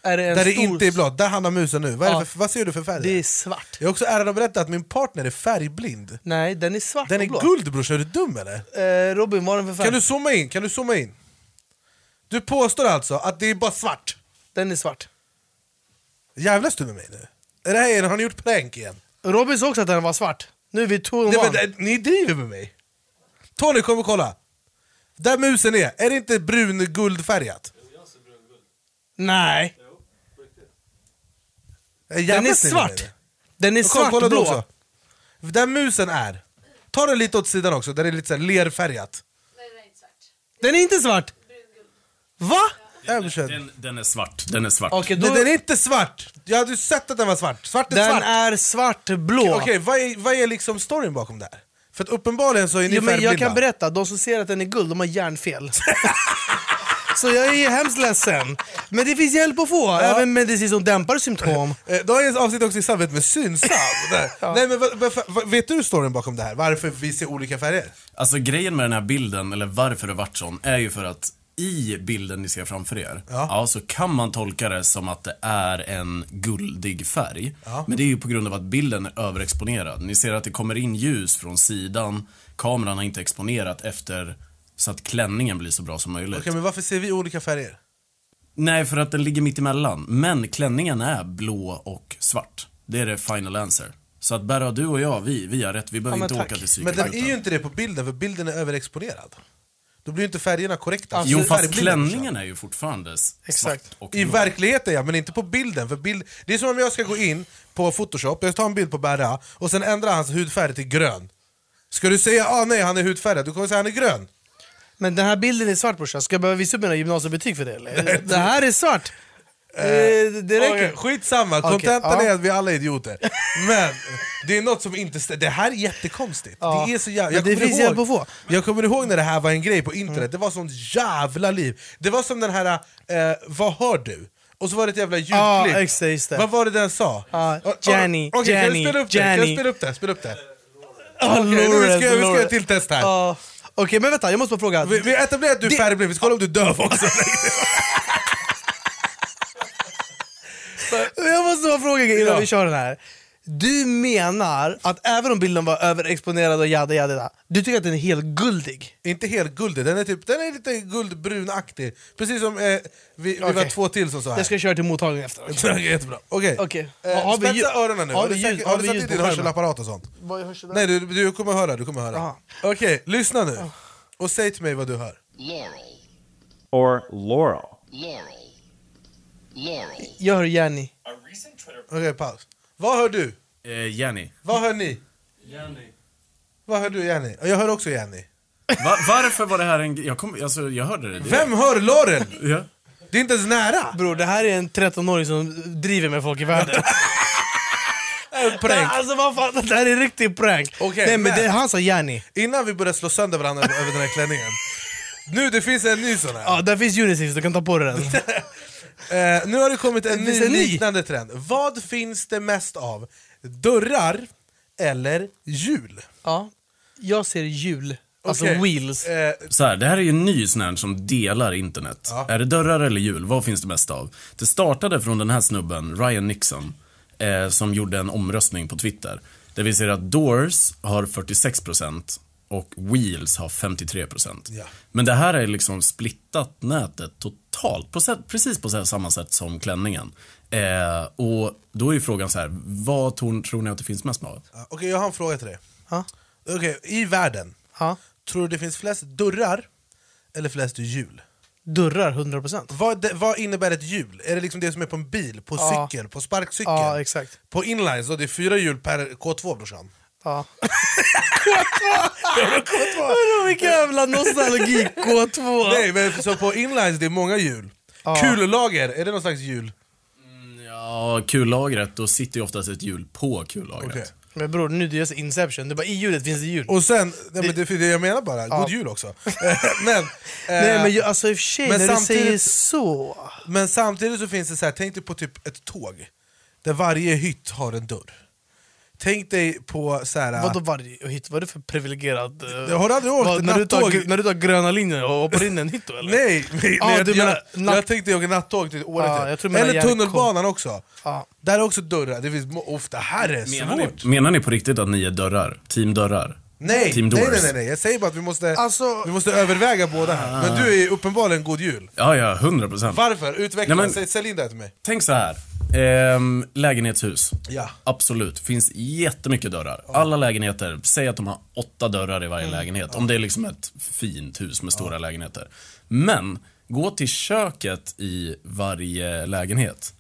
Är det en där det stor... inte är blått, där hamnar musen nu. Vad, är Ja. det för, vad ser du för färg? Det är svart. Jag är också ärad att berätta att min partner är färgblind. Nej, den är svart Den och är blå. guld brorsan, är du dum eller? Eh, Robin, vad är den för färg? Kan du zooma in? Kan du zooma in? Du påstår alltså att det är bara svart? Den är svart. Jävlas du med mig nu? Är det här, har ni gjort prank igen? Robin sa också att den var svart. Nu är vi two on Nej, one. men, eh, ni driver med mig! Tony kom och kolla! Där musen är, är det inte brun-guldfärgat? Nej, Jag den jävlas ni är Eh, med mig svart. nu? Den är Och kolla- kolla du också. svartblå. Där musen är, ta den lite åt sidan också, där det är lite så här lerfärgat. Den är inte svart. Va? Den, den, den är svart. Den är svart. Okej, då... Nej, den är inte svart! Jag hade ju sett att den var svart. Svart är Den svart. är svartblå. Okej, vad, är, vad är liksom storyn bakom det här? För att uppenbarligen så är ni Jo, men jag färgblinda. kan berätta, de som ser att den är guld, de har hjärnfel. Så jag är hemskt ledsen. Men det finns hjälp att få, även medicin som dämpar symptom. Eh, Då har jag ett avsnitt också i samarbete med Synsam. Där. Nej, men, vad- vad- vad- vet du storyn bakom det här? Varför vi ser olika färger? Alltså grejen med den här bilden, eller varför det vart sån, är ju för att i bilden ni ser framför er, ja. så kan man tolka det som att det är en guldig färg. Ja. Men det är ju på grund av att bilden är överexponerad. Ni ser att det kommer in ljus från sidan, kameran har inte exponerat efter så att klänningen blir så bra som möjligt. Okej, men varför ser vi olika färger? Nej, för att den ligger mitt emellan. Men klänningen är blå och svart. Det är det final answer. Så att bara du och jag, vi, vi har rätt. Vi behöver men inte tack. åka till Men den psykakuten. är ju inte det på bilden, för bilden är överexponerad. Då blir ju inte färgerna korrekta. Jo, Alltså, fast färgbilden, klänningen är ju fortfarande s- Exakt. svart och I blå. verkligheten ja, men inte på bilden. För bild, det är som om jag ska gå in på photoshop, jag tar en bild på Berra och sen ändrar hans hudfärg till grön. Ska du säga ah, nej han är hudfärgad, du kommer säga han är grön. Men den här bilden är svart brorsan, ska jag behöva visa upp mina gymnasiebetyg för det eller? det här är svart! Eh, det räcker. Okej, skitsamma, Okej, kontentan ja. är att vi alla är idioter. Men det är något som inte stämmer. Det här är jättekonstigt. Ja. Det är så jävla... Men det kommer finns ihåg- hjälp att få. Mm. Jag kommer ihåg när det här var en grej på internet, det var sånt jävla liv. Det var som den här, eh, vad hör du? Och så var det ett jävla Ja, ljudklipp. just det, just det. Vad var det den sa? Ja, Och- och- Jenny, Okej, kan du Jenny, spela upp det? Kan du Jenny. spela upp det? Spela upp det. Ah, Okej, nu Lawrence, ska jag- vi ska göra Lawrence. till test här. Ja. Okej, men vänta, jag måste bara fråga. Vi, vi etablerar att du är färgblind, vi ska kolla om du är döv också. Jag måste bara fråga en grej innan Ja. vi kör den här. Du menar att även om bilden var överexponerad och jada jada jada, du tycker att den är helt guldig? Inte helt guldig, den är, typ, den är lite guldbrunaktig. Precis som eh, vi, vi var Okej. två till som sa här. Jag ska köra till mottagningen efter. Okej, Jättebra. Okej. Okej. Eh, Har vi spetsa ljud- öronen nu. har Har, vi du, ljud- säkert, har har vi du ljud satt i på din skärmen? hörselapparat och sånt? Vad är hörseln där? Nej, du, du kommer höra. Du kommer höra. Okej, lyssna nu. Och säg till mig vad du hör. or Laurel. Jag hör Jenny. Okej, paus. Vad hör du? Eh, Jenny. Vad hör ni? Jenny. Vad hör du Jenny? Och Jag hör också Jenny. Va, varför var det här en... Jag, kom, alltså, jag hörde det. Vem hör Laurel? Ja. Det är inte ens nära. Bror, det här är en 13-åring som driver med folk i världen. Prank. Alltså vad fan, det här är riktigt prank. Okej, Nej men, men- det är han sa Jenny. Innan vi börjar slå sönder varandra över den här klänningen. Nu, det finns en ny sån här. Ja, där finns Unisys, du kan ta på dig den. Eh, nu har det kommit en finns ny en ny. liknande trend. Vad finns det mest av? Dörrar eller hjul? Ja, jag ser jul. Alltså Okej, wheels. eh, Så här, det här är ju en ny sån här som delar internet. Ja. Är det dörrar eller hjul? Vad finns det mest av? Det startade från den här snubben, Ryan Nixon, eh, som gjorde en omröstning på Twitter. Där vi ser att Doors har 46% och Wheels har 53%. Ja. Men det här är liksom splittat nätet totalt, på sätt, precis på så här samma sätt som klänningen. Eh, och då är ju frågan så här, vad tror, tror ni att det finns mest av? Ja, Ah, Okej, jag har en fråga till dig. Okej, I världen, tror du det finns flest dörrar eller flest hjul? Dörrar, 100%. Vad, det, vad innebär ett hjul? Är det liksom det som är på en bil, på Ja. cykel, på sparkcykel? Ja, exakt. På inline, så det är fyra hjul per K2 brorsan. Ja. Vadå vilken jävla nostalgi K2? Nej, men så på inlines det är många hjul. Kullager, är det någon slags hjul? Ja, kullagret, då sitter ju oftast ett hjul på kullagret. Okej. Men bror, nu det är så inception. Det är bara i hjulet finns det hjul. Och sen, nej, men det är det jag menar bara, Ja. god jul också. Eh, men, eh, Nej men ju- alltså i och för sig, men när du säger samtidigt- så. men samtidigt så finns det så här, tänk dig på typ ett tåg, där varje hytt har en dörr. Tänk dig på så här... Vadå varje hytt? Vad är det för privilegierad... eh, Jag har aldrig åkt vad- när, du tar, nattåg. när du tar gröna linjen och hoppar in i en hytt då eller? Nej, nej, Ah, nej du jag, jag, menar natt- jag tänkte jag åker nattåg till Åre. Ah, till. jag tror du menar Eller Jerko. tunnelbanan också. Ja. Där är också dörrar. Det finns må- ofta här är svårt. Menar ni, menar ni på riktigt att ni är dörrar? Team dörrar? Nej, Team nej, doors? nej, nej, nej, jag säger bara att vi måste, Alltså- vi måste överväga båda här. Men du är ju uppenbarligen god jul. Ja, ja, 100 procent. Varför? Utveckla, Nej, men- Säg, sälj in det här till mig. Tänk så här. Ehm, lägenhetshus. Ja. Absolut. Finns jättemycket dörrar. Alla lägenheter, säg att de har åtta dörrar i varje Mm. lägenhet. Om det är liksom ett fint hus med stora lägenheter. Men, gå till köket i varje lägenhet.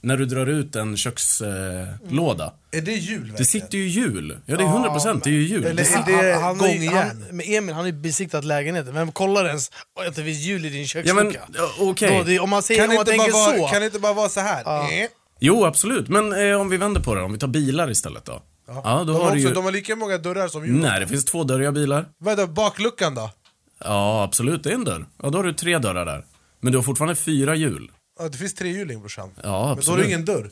När du drar ut en kökslåda. Eh, låda. Är det jul Det sitter ju hjul. Ja, det är 100 procent. Det är ju hjul. Eller sitter- är det Han- han har ju- gångjärn? han- Men Emil han har ju besiktat lägenheten, vem kollar ens att det finns hjul i din Ja, men, kökslucka? ja, okej. Då, det- Om man, säger, Kan om det man inte bara tänker vara- så. Kan det inte bara vara så här? Eh. Nej. Jo, absolut. Men eh, om vi vänder på det, om vi tar bilar istället då. Ja, då de, har har du också, ju... de har lika många dörrar som jul. Nej, det finns två dörriga bilar. Vadå, bakluckan då? Ja, absolut. Det är en dörr. Ja, då har du tre dörrar där. Men du har fortfarande fyra hjul. Ja, det finns tre hjuling brorsan. Ja, Men då har du absolut. ingen dörr.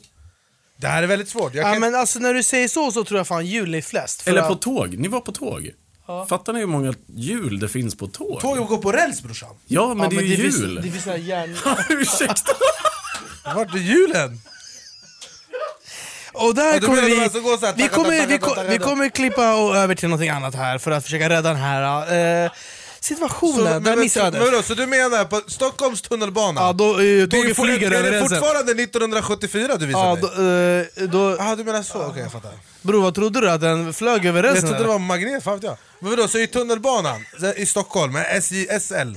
Det här är väldigt svårt. Jag Ja, kan... men alltså, när du säger så så tror jag fan hjul är flest. för Eller att- på tåg. Ni var på tåg. Fattar ni hur måga hjul det finns på tåg? Tågen går på räls brorsan. Ja, men Ja, det är ju finns- hjul. Det finns såna här järn... Ursäkta. Vart är hjulen? Och där Ja, du kommer menar vi, de här som går så här, vi, tacka, kommer, tacka, vi, tacka, ko- tacka, vi tacka. kommer klippa och över till någonting annat här för att försöka rädda den här eh, Så, situationen. men- där men- missade men vadå, så du menar på Stockholms tunnelbana? Ja, då, eh, det är, ju tåget for- flyger är över det gränsen. fortfarande 1974 du visar Ja, mig? då, eh, då, Ah, du menar så? Okej, jag fattar. bror vad trodde du? Att den flög över Jag rälsen? trodde det eller? var magnet, fan vet jag. Men vadå, så i tunnelbanan i Stockholm, med SJ, SL,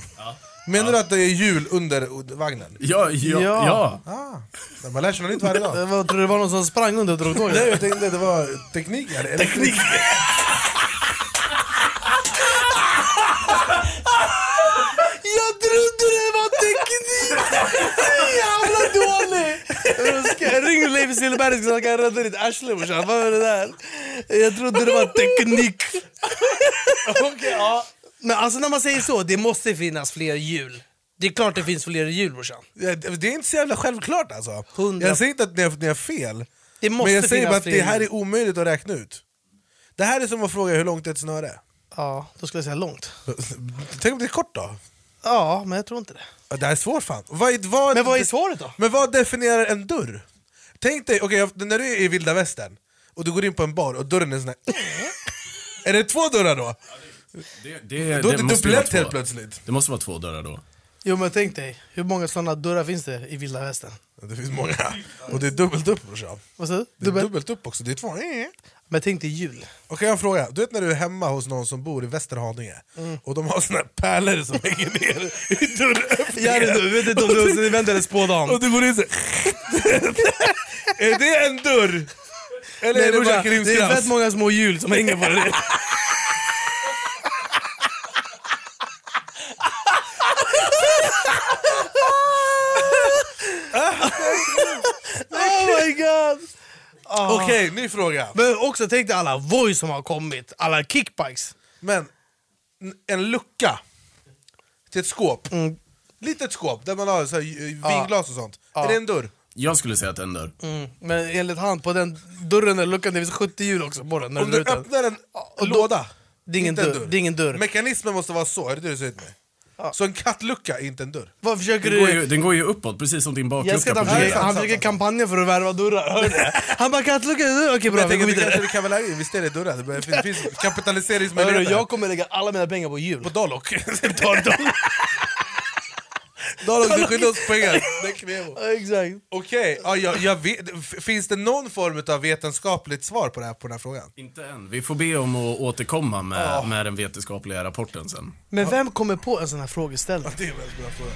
menar du att det är hjul under vagnen? Ja, ja, Ja. ja. Ah, man lär sig något nytt varje dag. Eh, Vad, tror du det var någon som sprang under och drog tåget? Nej, jag tänkte det var teknik. Eller? Teknik! Jag trodde det var teknik! Jävla dålig! Ska- Ring Leif Silberg så han kan rädda ditt arsle brorsan. Vad var det där? Jag trodde det var teknik. Men alltså när man säger så, det måste finnas fler hjul. Det är klart det finns fler hjul brorsan. Ja, det det är inte så jävla självklart alltså. Hundra- Jag säger inte att ni har, ni har fel, Det måste men jag säger finnas bara att fler det här hjul. är omöjligt att räkna ut. Det här är som att fråga hur långt ett snöre är. Ja, då skulle jag säga långt. Tänk om det är kort då? Ja, men jag tror inte det. Ja, Det här är svårt fan. Vad är, vad, Men vad är svaret då? Men vad definierar en dörr? Tänk dig, okej, jag- när du är i vilda västern och du går in på en bar och dörren är sån här... är det två dörrar då? Det, det, Då är det måste ju dubblett vara två. helt plötsligt. Det måste vara två dörrar då. Jo men tänk dig, hur många sådana dörrar finns det i vilda västern? Ja, Det finns många. Och det är dubbelt upp brorsan. Vad sa du? Det är Dubbel? dubbelt upp också, det är två. Okej, Men tänk dig hjul. jag har en fråga. Du vet när du är hemma hos någon som bor i Västerhaninge Mm. och de har såna här pärlor som hänger ner i Gör det dörröppningen. du, vet inte om du vänder eller spådar om. Och du går in så Är det en dörr? Eller Nej, är det brorsan, bara det är fett krimskrams? många små hjul som hänger på det. oh my god! Okej, ny fråga. Men också tänk dig alla Voi som har kommit, alla kickbikes. Men n- en lucka till ett skåp. Mm. Litet skåp där man har så här, eh, vinglas och sånt. Är det en dörr? Jag skulle säga att en dörr. Men enligt han på den dörren eller luckan, det finns 70 hjul också på den. När Om du du drar ut den. öppnar en och då- låda, Det är ingen Inte en dörr. Det är ingen dörr. Mekanismen måste vara så, är det det du säger till mig? Så en kattlucka är inte en dörr? Vad försöker Den går, ju, den går ju uppåt, precis som din Jag ska baklucka ta på försöka, bilen. han försöker kampanja för att värva dörrar, hör du det? Han bara kattlucka, okej bra jag vi går tänker att du vidare. kanske kan väl lägga in, visst är det dörrar? Det börjar- Det finns Hörru, kapitaliseringsmöjligheter. jag kommer lägga alla mina pengar på jul. På Dollock. Dollock, du skyller oss pengar. Det är Kvevo. Exakt. Okej, ja, jag, jag vet, f- finns det någon form av vetenskapligt svar på, det här, på den här frågan? Inte än. Vi får be om att återkomma med, med den vetenskapliga rapporten sen. Men vem kommer på en sån här frågeställning? Det är en väldigt bra fråga.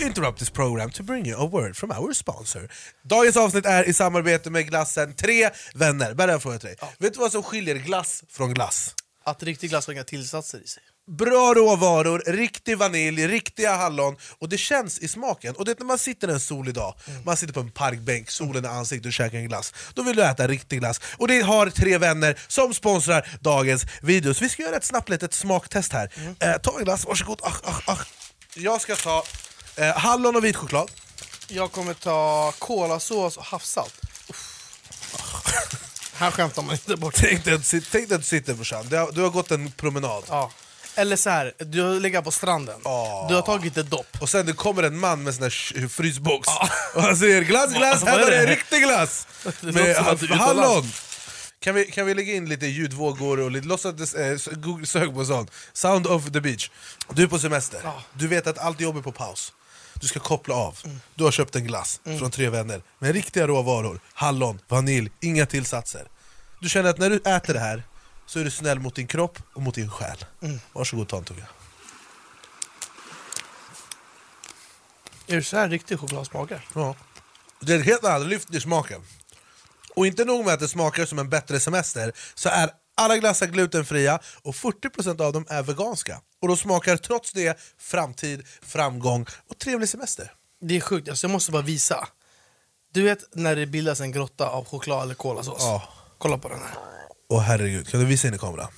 We interrupt this program to bring you a word from our sponsor. Dagens avsnitt är i samarbete med glassen Tre vänner. Bara en fråga till dig. Vet du vad som skiljer glass från glass? Att riktig glass har inga tillsatser i sig. Bra råvaror, riktig vanilj, riktiga hallon och det känns i smaken. Och det är när man sitter en solig dag, man sitter på en parkbänk, solen i ansiktet och käkar en glass. Då vill du äta riktig glass. Och det har tre vänner som sponsrar dagens videos. Vi ska göra ett snabbt litet smaktest här. Eh, ta en glass, varsågod. Ach, ach, ach. Jag ska ta eh, hallon och vit choklad. Jag kommer ta kolasås och havssalt. Uff. Här skämtar man inte bort. Tänk dig att du sit- tänk dig att du sitter brorsan, du har, du har gått en promenad. Ja. Eller så här, du ligger på stranden. Du har tagit ett dopp. Och sen det kommer en man med sån där sh- frysbox och han säger glass, glass, Alltså, Vad är här var det det? riktig glass! Det Med låter som att du är hallon! utomlands. Kan vi, kan vi lägga in lite ljudvågor och lite, låtsas att det, eh, s- Google- sök på sånt. Sound of the beach. Du är på semester, du vet att allt jobb är på paus. Du ska koppla av. Mm. Du har köpt en glass från Tre Vänner med riktiga råvaror, hallon, vanilj, inga tillsatser. Du känner att när du äter det här så är du snäll mot din kropp och mot din själ. Mm. Varsågod ta en tugga. Är det så här riktig choklad smakar? Ja. Det är ett helt annat lyft i smaken. Och inte nog med att det smakar som en bättre semester, så är alla glassar glutenfria och 40% av dem är veganska. Och de smakar trots det framtid, framgång och trevlig semester. Det är sjukt, alltså jag måste bara visa. Du vet när det bildas en grotta av choklad eller kolasås? Ja. Kolla på den här. Åh herregud, kan du visa in i kameran?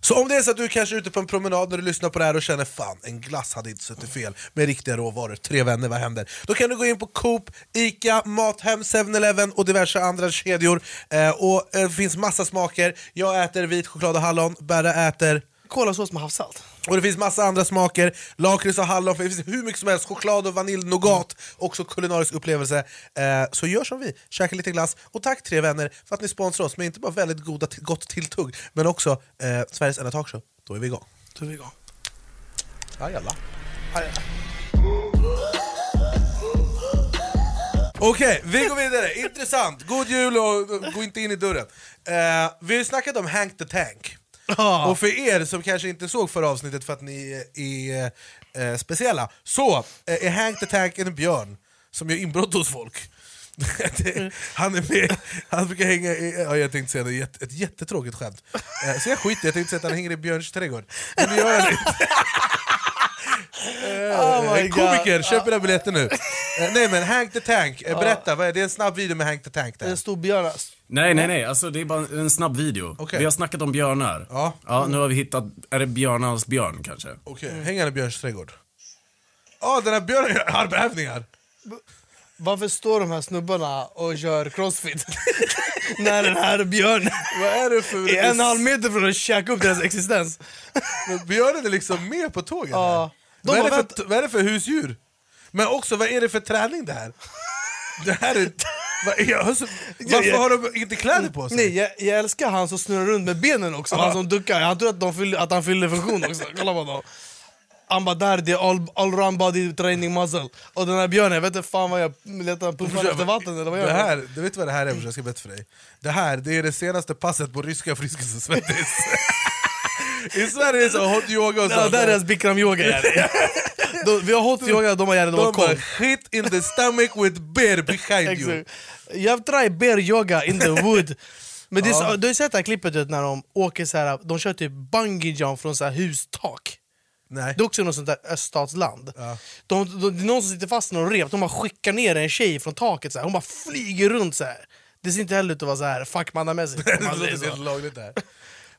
Så om det är så att du kanske är ute på en promenad när du lyssnar på det här och känner fan, en glass hade inte suttit fel med riktiga råvaror, tre vänner, vad händer? Då kan du gå in på Coop, Ica, Mathem, 7-Eleven och diverse andra kedjor. Eh, och eh, det finns massa smaker. Jag äter vit choklad och hallon, Berra äter Kolasås med havssalt. och det finns massa andra smaker, lakrits och hallon, det finns hur mycket som helst, choklad och vanilj, nougat, också kulinarisk upplevelse. Eh, så gör som vi, käka lite glass. Och tack tre vänner för att ni sponsrar oss med inte bara väldigt goda, gott tilltugg, men också eh, Sveriges enda talkshow. Då är vi igång. Då är vi igång. Ajalla. Ajalla. Okej, vi går vidare. Intressant. God jul och gå inte in i dörren. Eh, vi har ju snackat om Hank the Tank. Ja. Och för er som kanske inte såg förra avsnittet för att ni är, är eh, speciella, så eh, är Hank the Tank en björn som gör inbrott hos folk. Det- han är med, han brukar hänga i, ja, jag tänkte säga det, jätte- ett jättetråkigt skämt. Eh, så jag skiter jag tänkte säga att han hänger i Björns trädgård. Men det gör han inte. Oh my Eh, komiker, God. köp era biljetter nu. Eh, nej men Hank the Tank, eh, berätta, vad är det? det är en snabb video med Hank the Tank där. Ah. En stor björn. Nej, nej, nej. Alltså, det är bara en snabb video. Okej. Vi har snackat om björnar. Ja. nu har vi hittat, är det björnarnas björn kanske? Okej, Mm. hänger han i Björns trädgård? Ja, den här björnen gör armhävningar! Varför står de här snubbarna och kör crossfit? När den här björnen Vad är det för... liksom- är en och en halv meter från att käka upp deras existens. Men Björnen är liksom med på tåget. Ja. här. De vad, är har det för, vad är det för husdjur? Men också, vad är det för träning det här? Det här är... Vad är, alltså, varför jag- har de inte kläder på sig? Nej, jag, jag älskar han som snurrar runt med benen också. Han som duckar. Han tror att, de fyller, att han fyller funktion också. Kolla på honom. Han bara där, det är all, all round body training muscle. Och den här björnen, jag vet inte fan vad jag letar, puffar efter vatten eller vad det gör här, du vet vad det här är brorsan, jag ska berätta för dig. Det här det är det senaste passet på ryska Friskis och Svettis. I Sverige är det så hot yoga och sånt. Ja, där är deras bikram-yoga. jävlar. De- Vi har hot yoga, de har gärna de har De bara koll. shit in the stomach with bear behind you. Exakt. You have tried bear yoga in the wood. Men det är så, Du har ju sett det här klippet du vet, när de åker så här, de kör typ bungee jump från så här hustak. Nej. Det är också något sånt där öststatsland. De, de, det är någon som sitter fast i någon rep, de bara skickar ner en tjej från taket, så här. hon bara flyger runt så här. Det ser inte heller ut att vara så här fuckmannamässigt. om Det man säger låter helt så. lagligt där.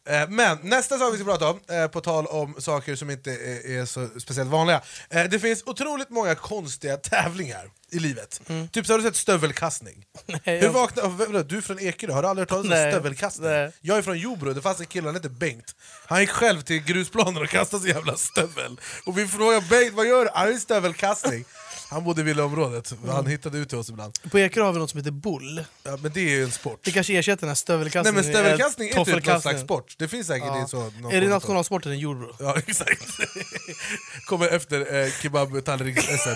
Eh, Men nästa sak vi ska prata om, eh, på tal om saker som inte är är så speciellt vanliga. Eh, Det finns otroligt många konstiga tävlingar i livet. Typ så har du sett stövelkastning. Hur Mm. jag- vaknar, oh, vadå, du är från Ekerö, har du aldrig hört talas om Nej, stövelkastning? Jag är från Jobro, det fanns en kille, han hette Bengt. Han gick själv till grusplanen och kastade sin jävla stövel. Och vi frågade Bengt, vad gör du? Han är stövelkastning. Han bodde i villaområdet, han Mm. hittade ut till oss ibland. På Ekerö har vi något som heter bull. Ja, men det är ju en sport. Det kanske ersätter den här Nej stövelkastningen. men stövelkastning är typ någon toffelkastningen. slags sport, det finns säkert i så... någon Är det form av- nationalsporten i jordbro? Ja, exakt. Kommer efter eh, kebabtallriks-SM.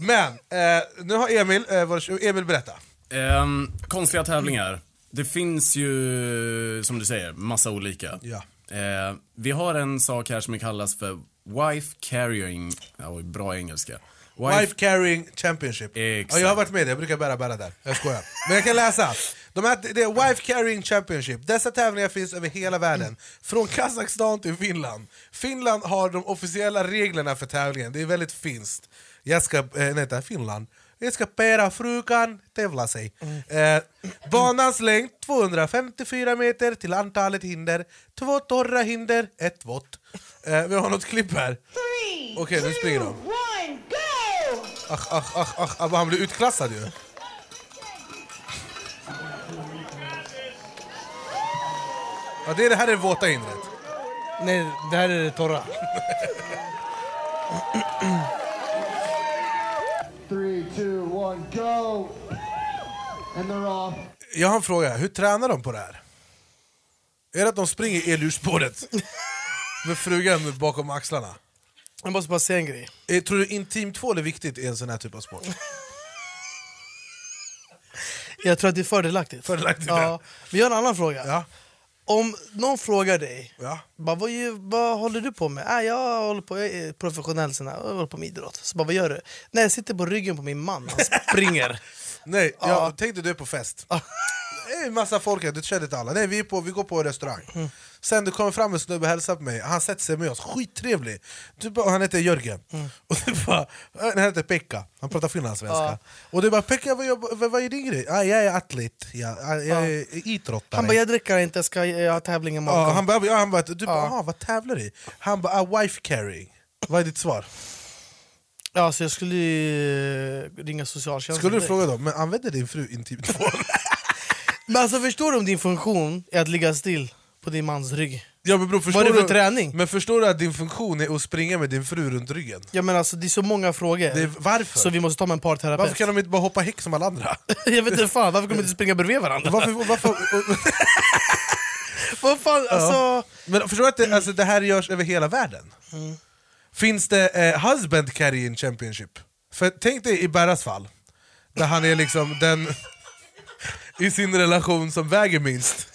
Men eh, nu har Emil, eh, vår, Emil berätta. Ehm, konstiga tävlingar. Det finns ju, som du säger, massa olika. Ja. Eh, vi har en sak här som kallas för Wife Carrying, ja, oj, bra engelska. Wife, Carrying Championship. Ja, Exakt. jag har varit med i det, jag brukar bära bära där. Jag skojar. Men jag kan läsa. De här, det är Wife Carrying Championship. Dessa tävlingar finns över hela världen. Från Kazakstan till Finland. Finland har de officiella reglerna för tävlingen, det är väldigt finskt. Jag ska, eh, nej, vänta, Finland. Jag ska pera frukan, tävla sig. Eh, banans längd 254 meter till antalet hinder. Två torra hinder, ett vått. Eh, vi har något klipp här. Okej, nu springer de. Ach, ach, ach, ach, ach, han blir utklassad ju. Ja, det, är det här är det våta inret. Nej, det här är det torra. Three, two, one, go! And they're off. Jag har en fråga, hur tränar de på det här? Är det att de springer i elurspåret? Med frugan bakom axlarna? Jag måste bara säga en grej. Eh, Tror du intimtvål är viktigt i en sån här typ av sport? Jag tror att det är fördelaktigt. Fördelaktigt, ja. ja. Vi har en annan fråga. Ja. Om någon frågar dig, Ja. bara, vad, ju- vad håller du på med? Äh, jag håller på, jag är professionell, sen, här, jag håller på med idrott. Så bara, vad gör du? Nej, jag sitter på ryggen på min man, alltså. han springer. Nej, jag Ja. tänkte du är på fest. Det är en massa folk här, du känner inte alla. Nej, vi, är på, vi går på en restaurang. Mm. Sen du kommer fram en snubbe och hälsar på mig, han sätter sig med oss, skittrevlig. Du bara, han heter Jörgen, Mm. och du bara, "Äh, nej, han heter Pekka, han pratar finlandssvenska. Ja. Och du bara, Pekka vad, jobbar- vad, vad är din grej? Ah, jag är atlet, jag, jag är idrottare. Han bara, jag dricker inte, jag ska jag har tävling imorgon. Ja, han bara, ja, han bara, du bara, "Aha, vad tävlar du i? Han bara, ah, wife carrying. Vad är ditt svar? Ja, så jag skulle ju ringa socialtjänsten. Skulle du direkt. fråga dem, men använder din fru intimt våld? Men alltså förstår du om din funktion är att ligga still på din mans rygg? Ja, men bro, Vad är det för du- träning? Men förstår du att din funktion är att springa med din fru runt ryggen? Ja men alltså det är så många frågor. Det är, varför? Så vi måste ta med en parterapeut. varför kan de inte bara hoppa häck som alla andra? Jag vet inte fan, varför kan de inte springa bredvid varandra? Varför, varför, Vad fan, alltså... men förstår du att det, alltså, det här görs över hela världen? Mm. Finns det eh, Husband Carrying Championship? För tänk dig i Berras fall, där han är liksom den i sin relation som väger minst.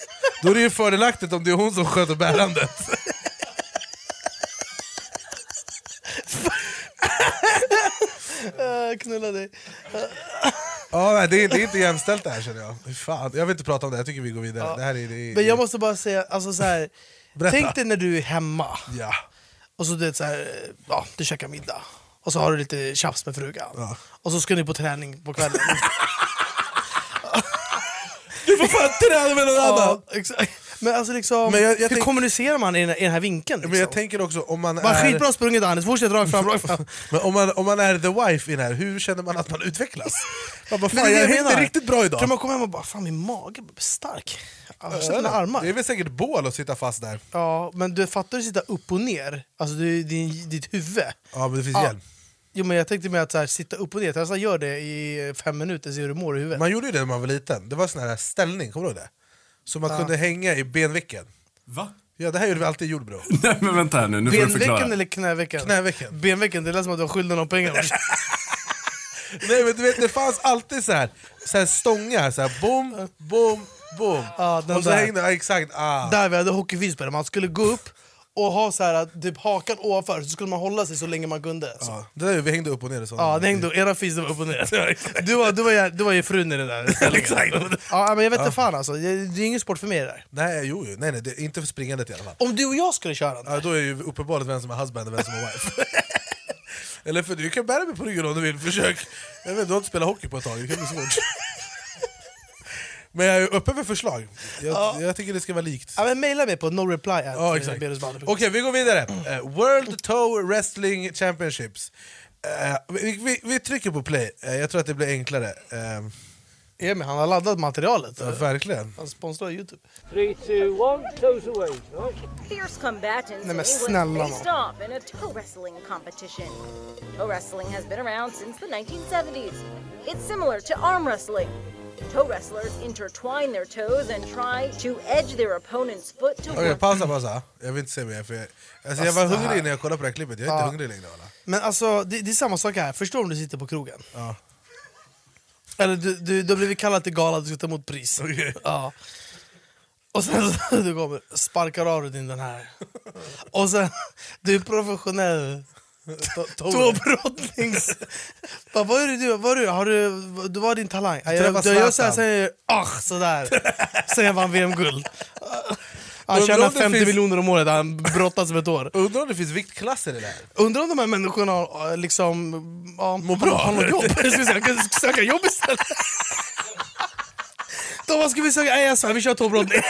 Då är det ju fördelaktigt om det är hon som sköter bärandet. Äh, knulla dig. Ja, nej, det, är, det är inte jämställt det här känner jag. Fy Fan, jag vill inte prata om det, jag tycker vi går vidare. Det här är, det är, Men jag måste bara säga, alltså så här, Berätta. tänk dig när du är hemma Ja. och så, du vet, så här, ja, du käkar middag och så har du lite tjafs med frugan Ja. och så ska ni på träning på kvällen. Du får fan träna med någon ja, exakt. Men alltså liksom, Men jag- jag hur tänk- kommunicerar man i den här, i den här vinkeln? Liksom? Men jag tänker också om man Bara, är... Skitbra sprungit Anis, fortsätt rakt fram, rakt fram. Men om man, om man är the wife i det här, hur känner man att man utvecklas? Man bara, Men det fan, är det jag är jag inte menar. riktigt bra idag. Tror man kommer hem och bara, fan min mage blir stark. Jag har sett mina armar. Det är väl säkert bål att sitta fast där. Ja, men du fattar du sitta upp och ner, alltså du, din, ditt huvud. Ja, men det finns Ja. hjälm. Jo, men jag tänkte med att så här, sitta upp och ner, testa gör det i fem minuter, se hur du mår i huvudet. Man gjorde ju det när man var liten. Det var sån här ställning, kommer du ihåg det? Så man Ja. kunde hänga i benvecken. Va? Ja, det här gjorde vi alltid i jordbro. Nej men vänta här nu, nu får du förklara. Benveckan eller knäveckan? Knävecken. Benveckan, det lät som att du var skyldig någon pengar. Nej men du vet, det fanns alltid så här, så här stångar, så här bom, bom, bom. Ja, den och så där. hängde, ja, exakt, ah. Där vi hade hockeyfilspelare, man skulle gå upp och ha så här, typ hakan ovanför, så skulle man hålla sig så länge man kunde. Så. Ja, det där, vi hängde upp och ner och sånt. Ja, det hängde, era fis var upp och ner. Du var, du var, ju- du var ju frun i den där ställningen. Exakt. Ja, men jag vet inte fan alltså, det, det är ingen sport för mig det där. Nej, jo, jo. nej, nej det, inte för springandet i alla fall. Om du och jag skulle köra den, Ja, då är ju uppenbarligen vem som är husband och vem som är wife. Eller för du kan bära mig på ryggen om du vill, försök. Jag vet, du har inte spelat hockey på ett tag, det kan bli svårt. Men jag är öppen för förslag. Jag, jag tycker det ska vara likt. Ja, men maila mig på no reply at eh, Ja, exakt. Okej, berusbader.com. vi går vidare. Eh, World Toe Wrestling Championships. Eh, vi, vi, vi trycker på play, Eh, jag tror att det blir enklare. Eh, Emil, han har laddat materialet. Ja, verkligen. Han sponsrar Youtube. 3, 2, 1, toes away. Right? Fierce combatants Nej, in men England snälla faced off in a toe wrestling competition. Toe wrestling has been around since the 1970s. It's similar to arm wrestling. Toe wrestlers intertwine their toes and try to edge their opponent's foot to Okej, work pausa, pausa. Jag vill inte se mer. För jag, alltså, jag var Fast det hungrig här- när jag kollade på det här klippet, jag är inte Ja. hungrig längre. Ola. Men alltså, det, det är samma sak här. Förstår du om du sitter på krogen? Ja. Eller du, du, du har blivit kallad till gala, du ska ta emot pris. Ja. Och sen så, du kommer, sparkar av dig din den här. Och sen, du är professionell tåbrottnings... Vad vad är det du, vad är du, har du, du var din talang? Ja, Jag, Träffa du, jag gör såhär, Zlatan. sen gör jag ah, sådär. Sen jag vann VM-guld. Han Undrar tjänar om det 50 finns- miljoner om året, han brottas med ett år. Undrar om det finns viktklasser i det här? Undrar om de här människorna har, eh, liksom... Ja, Mår bra. Har något jobb? Jag skulle säga, jag kan söka jobb istället. De bara, ska vi söka? Nej jag svär, vi kör tåbrottning.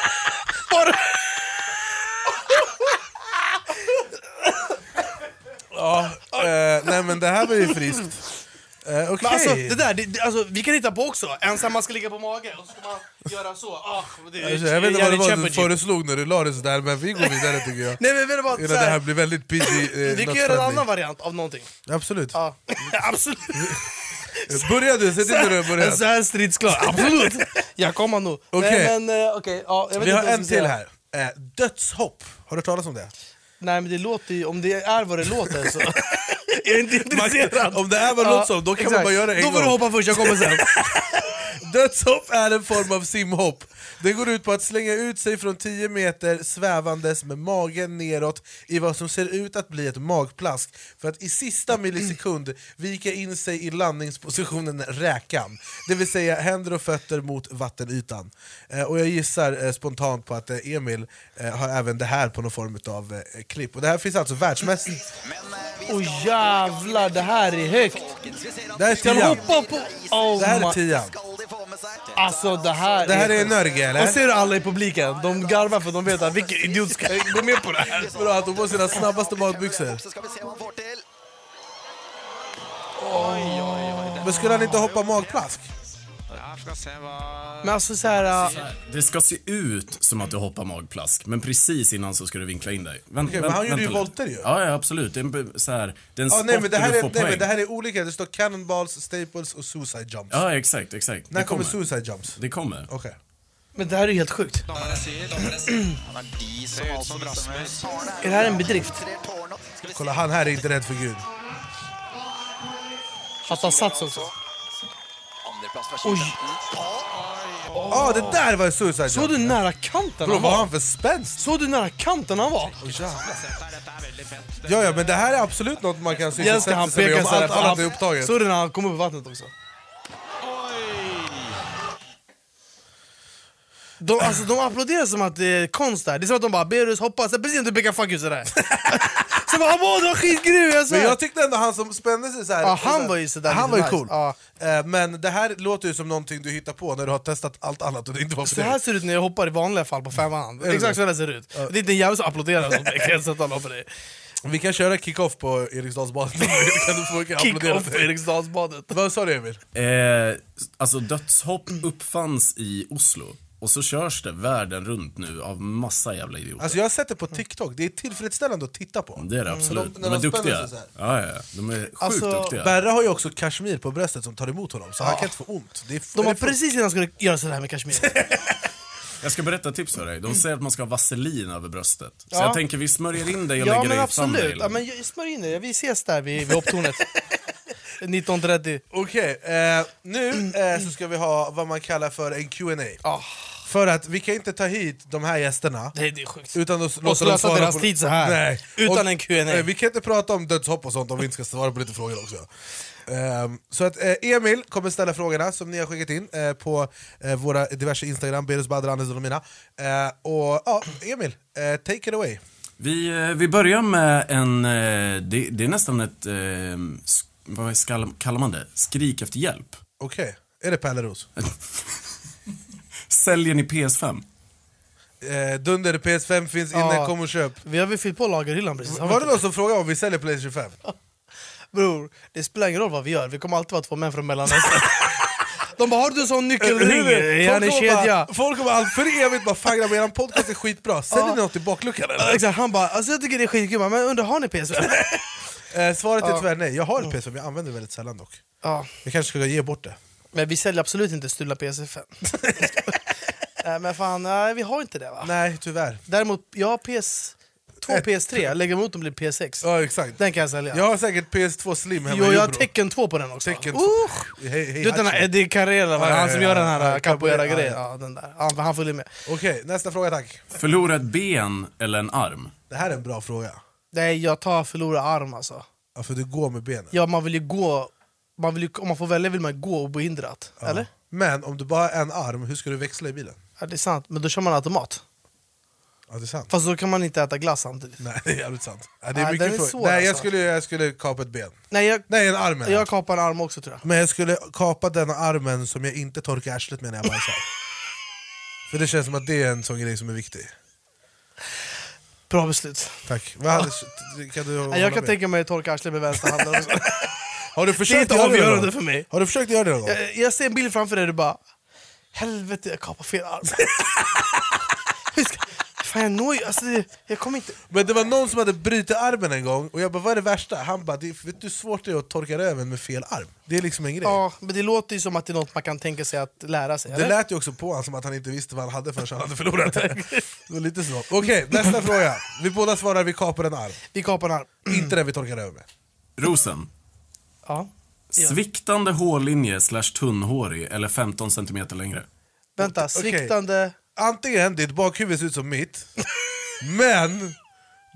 Bara... Ja, eh, nej men det här var ju friskt. Eh, Okej. Men alltså, det där, det, det, alltså, vi kan hitta på också. Ensam man ska ligga på mage och så ska man göra så. Ah, det, Alltså, jag vet inte vad det Jerry var du Championship. föreslog när du la det sådär, men vi går vidare tycker jag. Nej, men vet du vad, Innan så här- det här blir väldigt PG. Eh, Vi kan något göra en trending. annan variant av någonting. Absolut. Eh, Ja. Absolut. Börja du, säg till när du har börjat. Så här stridsklar. Absolut. Jag kommer nog. Okej. Nej, men, eh, okej, ja, jag vet Vi inte har vad jag en ska till säga. här. Eh, dödshopp. Har du hört talas om det? Nej men det låter ju, om det är vad det låter så är jag inte intresserad. om det är vad det låter som, då kan man bara göra det en Då får du gång. hoppa först, jag kommer sen. Dödshopp är en form av simhopp. Det går ut på att slänga ut sig från 10 meter svävandes med magen neråt i vad som ser ut att bli ett magplask för att i sista millisekund vika in sig i landningspositionen räkan. Det vill säga händer och fötter mot vattenytan. Eh, och jag gissar eh, spontant på att eh, Emil eh, har även det här på någon form av eh, klipp. Och det här finns alltså världsmässigt. Åh jävlar, det här är högt. Det här är Ska han tian. hoppa på... Oh Det här är my- tian. Alltså det här Det här är Norge, eller? Och ser du alla i publiken? De garvar för de vet att vilken idiot ska gå med på det här. Bra att hon får sina snabbaste matbyxor. Men skulle han inte hoppa magplask? Men alltså så här... äh, Det ska se ut som att du hoppar magplask, men precis innan så ska du vinkla in dig. Vänt, Okej, men vänt- han gjorde ju vänta lite. volter ju. Ja, ja absolut. Det är en, b- så här, det är en Ja, sport nej, men det, här där du är, får nej, men poäng. det här är olika, det står cannonballs, staples och suicide jumps. Ja, exakt, exakt. När Det kommer suicide jumps? Det kommer. Okej. Men det här är helt sjukt. Är det här en bedrift? Kolla, han här är inte rädd för Gud. Att han sats också? Oj! Ja, ah, det där var ju suicide jump! Såg du nära kanten Bro, han vad har var? han för spänst? Såg du nära kanten han var? Ja, ja, men det här är absolut något man kan Jens ska sysselsätta han sig med peka om så här allt på annat är han, upptaget. Såg du när han kom upp i vattnet också? De, alltså, de applåderar som att det är konst där. Det är som att de bara Berus hoppas, precis som du pekar fuck you sådär. så bara åh du var skitgrym! Jag Men jag svär. tyckte ändå han som spände sig så här. Ja, han var ju så där Han lite var ju nice. cool. Ja. Eh, Men det här låter ju som någonting du hittar på när du har testat allt annat och det inte var för Så här dig. ser det ut när jag hoppar i vanliga fall på femman. Är det Exakt så? så här ser det ut. Det är inte en jävel som applåderar som pekar, så att han hoppar i. Vi kan köra kick-off på Eriksdalsbadet. kan du få kan applådera Kick-off på dig. Eriksdalsbadet. Vad sa du Emil? Eh, alltså dödshopp Mm. uppfanns i Oslo och så körs det världen runt nu av massa jävla idioter. Alltså jag har sett det på TikTok, det är tillfredsställande att titta på. det är det absolut. när De, de är spänner sig duktiga. så här. Alltså, Ja, ja, ja. de är sjukt duktiga. Berra har ju också kashmir på bröstet som tar emot honom, så han kan inte få ont. Det är De var det är- precis innan jag skulle göra sådär med kashmir. Jag ska berätta ett tips för dig. Mm. De säger att man ska ha vaselin över bröstet. Så Ja. jag tänker vi smörjer in dig och Ja lägger men dig i absolut, thumbnailen. ja, men jag- smörj in dig. Vi ses där vid, vid hopptornet. 19.30. Okej, eh, nu eh, så ska vi ha vad man kallar för en Q&A Ah. För att vi kan inte ta hit de här gästerna Nej, det är sjukt. utan att Och låta dem slösa svara deras på... tid så här. Nej. Utan Och- en Q&A. Nej, Vi kan inte prata om dödshopp och sånt om vi inte ska svara på lite frågor också. Ehm, så att eh, Emil kommer ställa frågorna som ni har skickat in eh, på eh, våra diverse Instagram, Berus Badr, Anders och mina. Eh, och ja, Emil, eh, take it away. Vi, eh, vi börjar med en, eh, det, det är nästan ett, eh, sk- vad skall, kallar man det? Skrik efter hjälp. Okej, är det Pärleros? Säljer ni PS5? Eh, Dunder PS5 finns inne, Ja. kom och köp. Vi har väl fyllt på lagerhyllan precis. har vi Var det inte någon som frågade om vi säljer Playstation 5? Bror, det spelar ingen roll vad vi gör, vi kommer alltid vara två män från Mellanöstern. De bara, har du en sån nyckelring? Är han i kedja? Bara, folk Eh, kommer all- för evigt bara fan grabbar, eran podcast är skitbra, säljer Ja. ni något i bakluckan eller? Ja, Exakt, han bara, alltså jag tycker det är skitkul, men undrar har ni PS5? Eh, svaret är Ja. Mm. tyvärr nej, jag har ett PS5, jag använder det väldigt sällan dock. ja. Jag kanske ska ge bort det. Men vi säljer absolut inte stulna PS5. nej men fan, nej, vi har inte det va? Nej, tyvärr. Däremot, jag har PS... Två Ett. PS3, jag lägger emot dem blir PS6. Ja exakt. Den kan jag sälja. Jag har säkert PS2 Slim hemma Jo, i jag har Jobro. tecken 2 på den också. Tekken Uh, 2. Hej, hej, du vet den här Hachi. Eddie Carrera, Ja, va? ja, han som ja, gör ja. den här eh, Ja, capoeira-grejen. ja, Ja, den där. Han, han följer med. Okej, nästa fråga tack. Förlora ett ben eller en arm? Det här är en bra fråga. Nej, jag tar förlora arm alltså. Ja, för du går med benen. Ja, man vill ju gå... Man vill ju, om man får välja vill man ju gå obehindrat. Eller? Men om du bara har en arm, hur ska du växla i bilen? Ja, det är sant. Men då kör man automat. Ja, det är sant. Fast då kan man inte äta glass samtidigt. Nej, det är jävligt sant. Ja, det är Ja, mycket den är frågor. svår, Nej, jag, alltså. skulle, jag skulle kapa ett ben. Nej, jag, Nej, en arm menar jag. jag kapar en arm också tror jag. Men jag skulle kapa den armen som jag inte torkar arslet med när jag bajsar. För det känns som att det är en sån grej som är viktig. Bra beslut. Tack. Vad hade, kan du hålla Nej, jag kan med? tänka mig att torka arslet med vänsterhanden också. Har du det är försökt inte göra det någon gång? avgörande för mig. Har du försökt göra det någon gång? Jag, jag ser en bild framför dig och du bara Helvete, jag kapar fel arm. Hur ska, fan, jag når ju... Alltså, det, jag kommer inte... Men det var någon som hade brutit armen en gång och jag bara vad är det värsta? Han bara det, vet du hur svårt det är att torka röven med fel arm? Det är liksom en grej. Ja, men det låter ju som att det är något man kan tänka sig att lära sig. Det Eller? lät ju också på honom som att han inte visste vad han hade förrän han hade förlorat det. det var lite så. Okej, nästa fråga. Vi båda svarar vi kapar en arm. Vi kapar en arm. Inte den vi torkar röven med. Rosen. Ja. Sviktande hårlinje slash tunnhårig eller 15 cm längre? Vänta, sviktande... Antingen ditt bakhuvud ser ut som mitt, men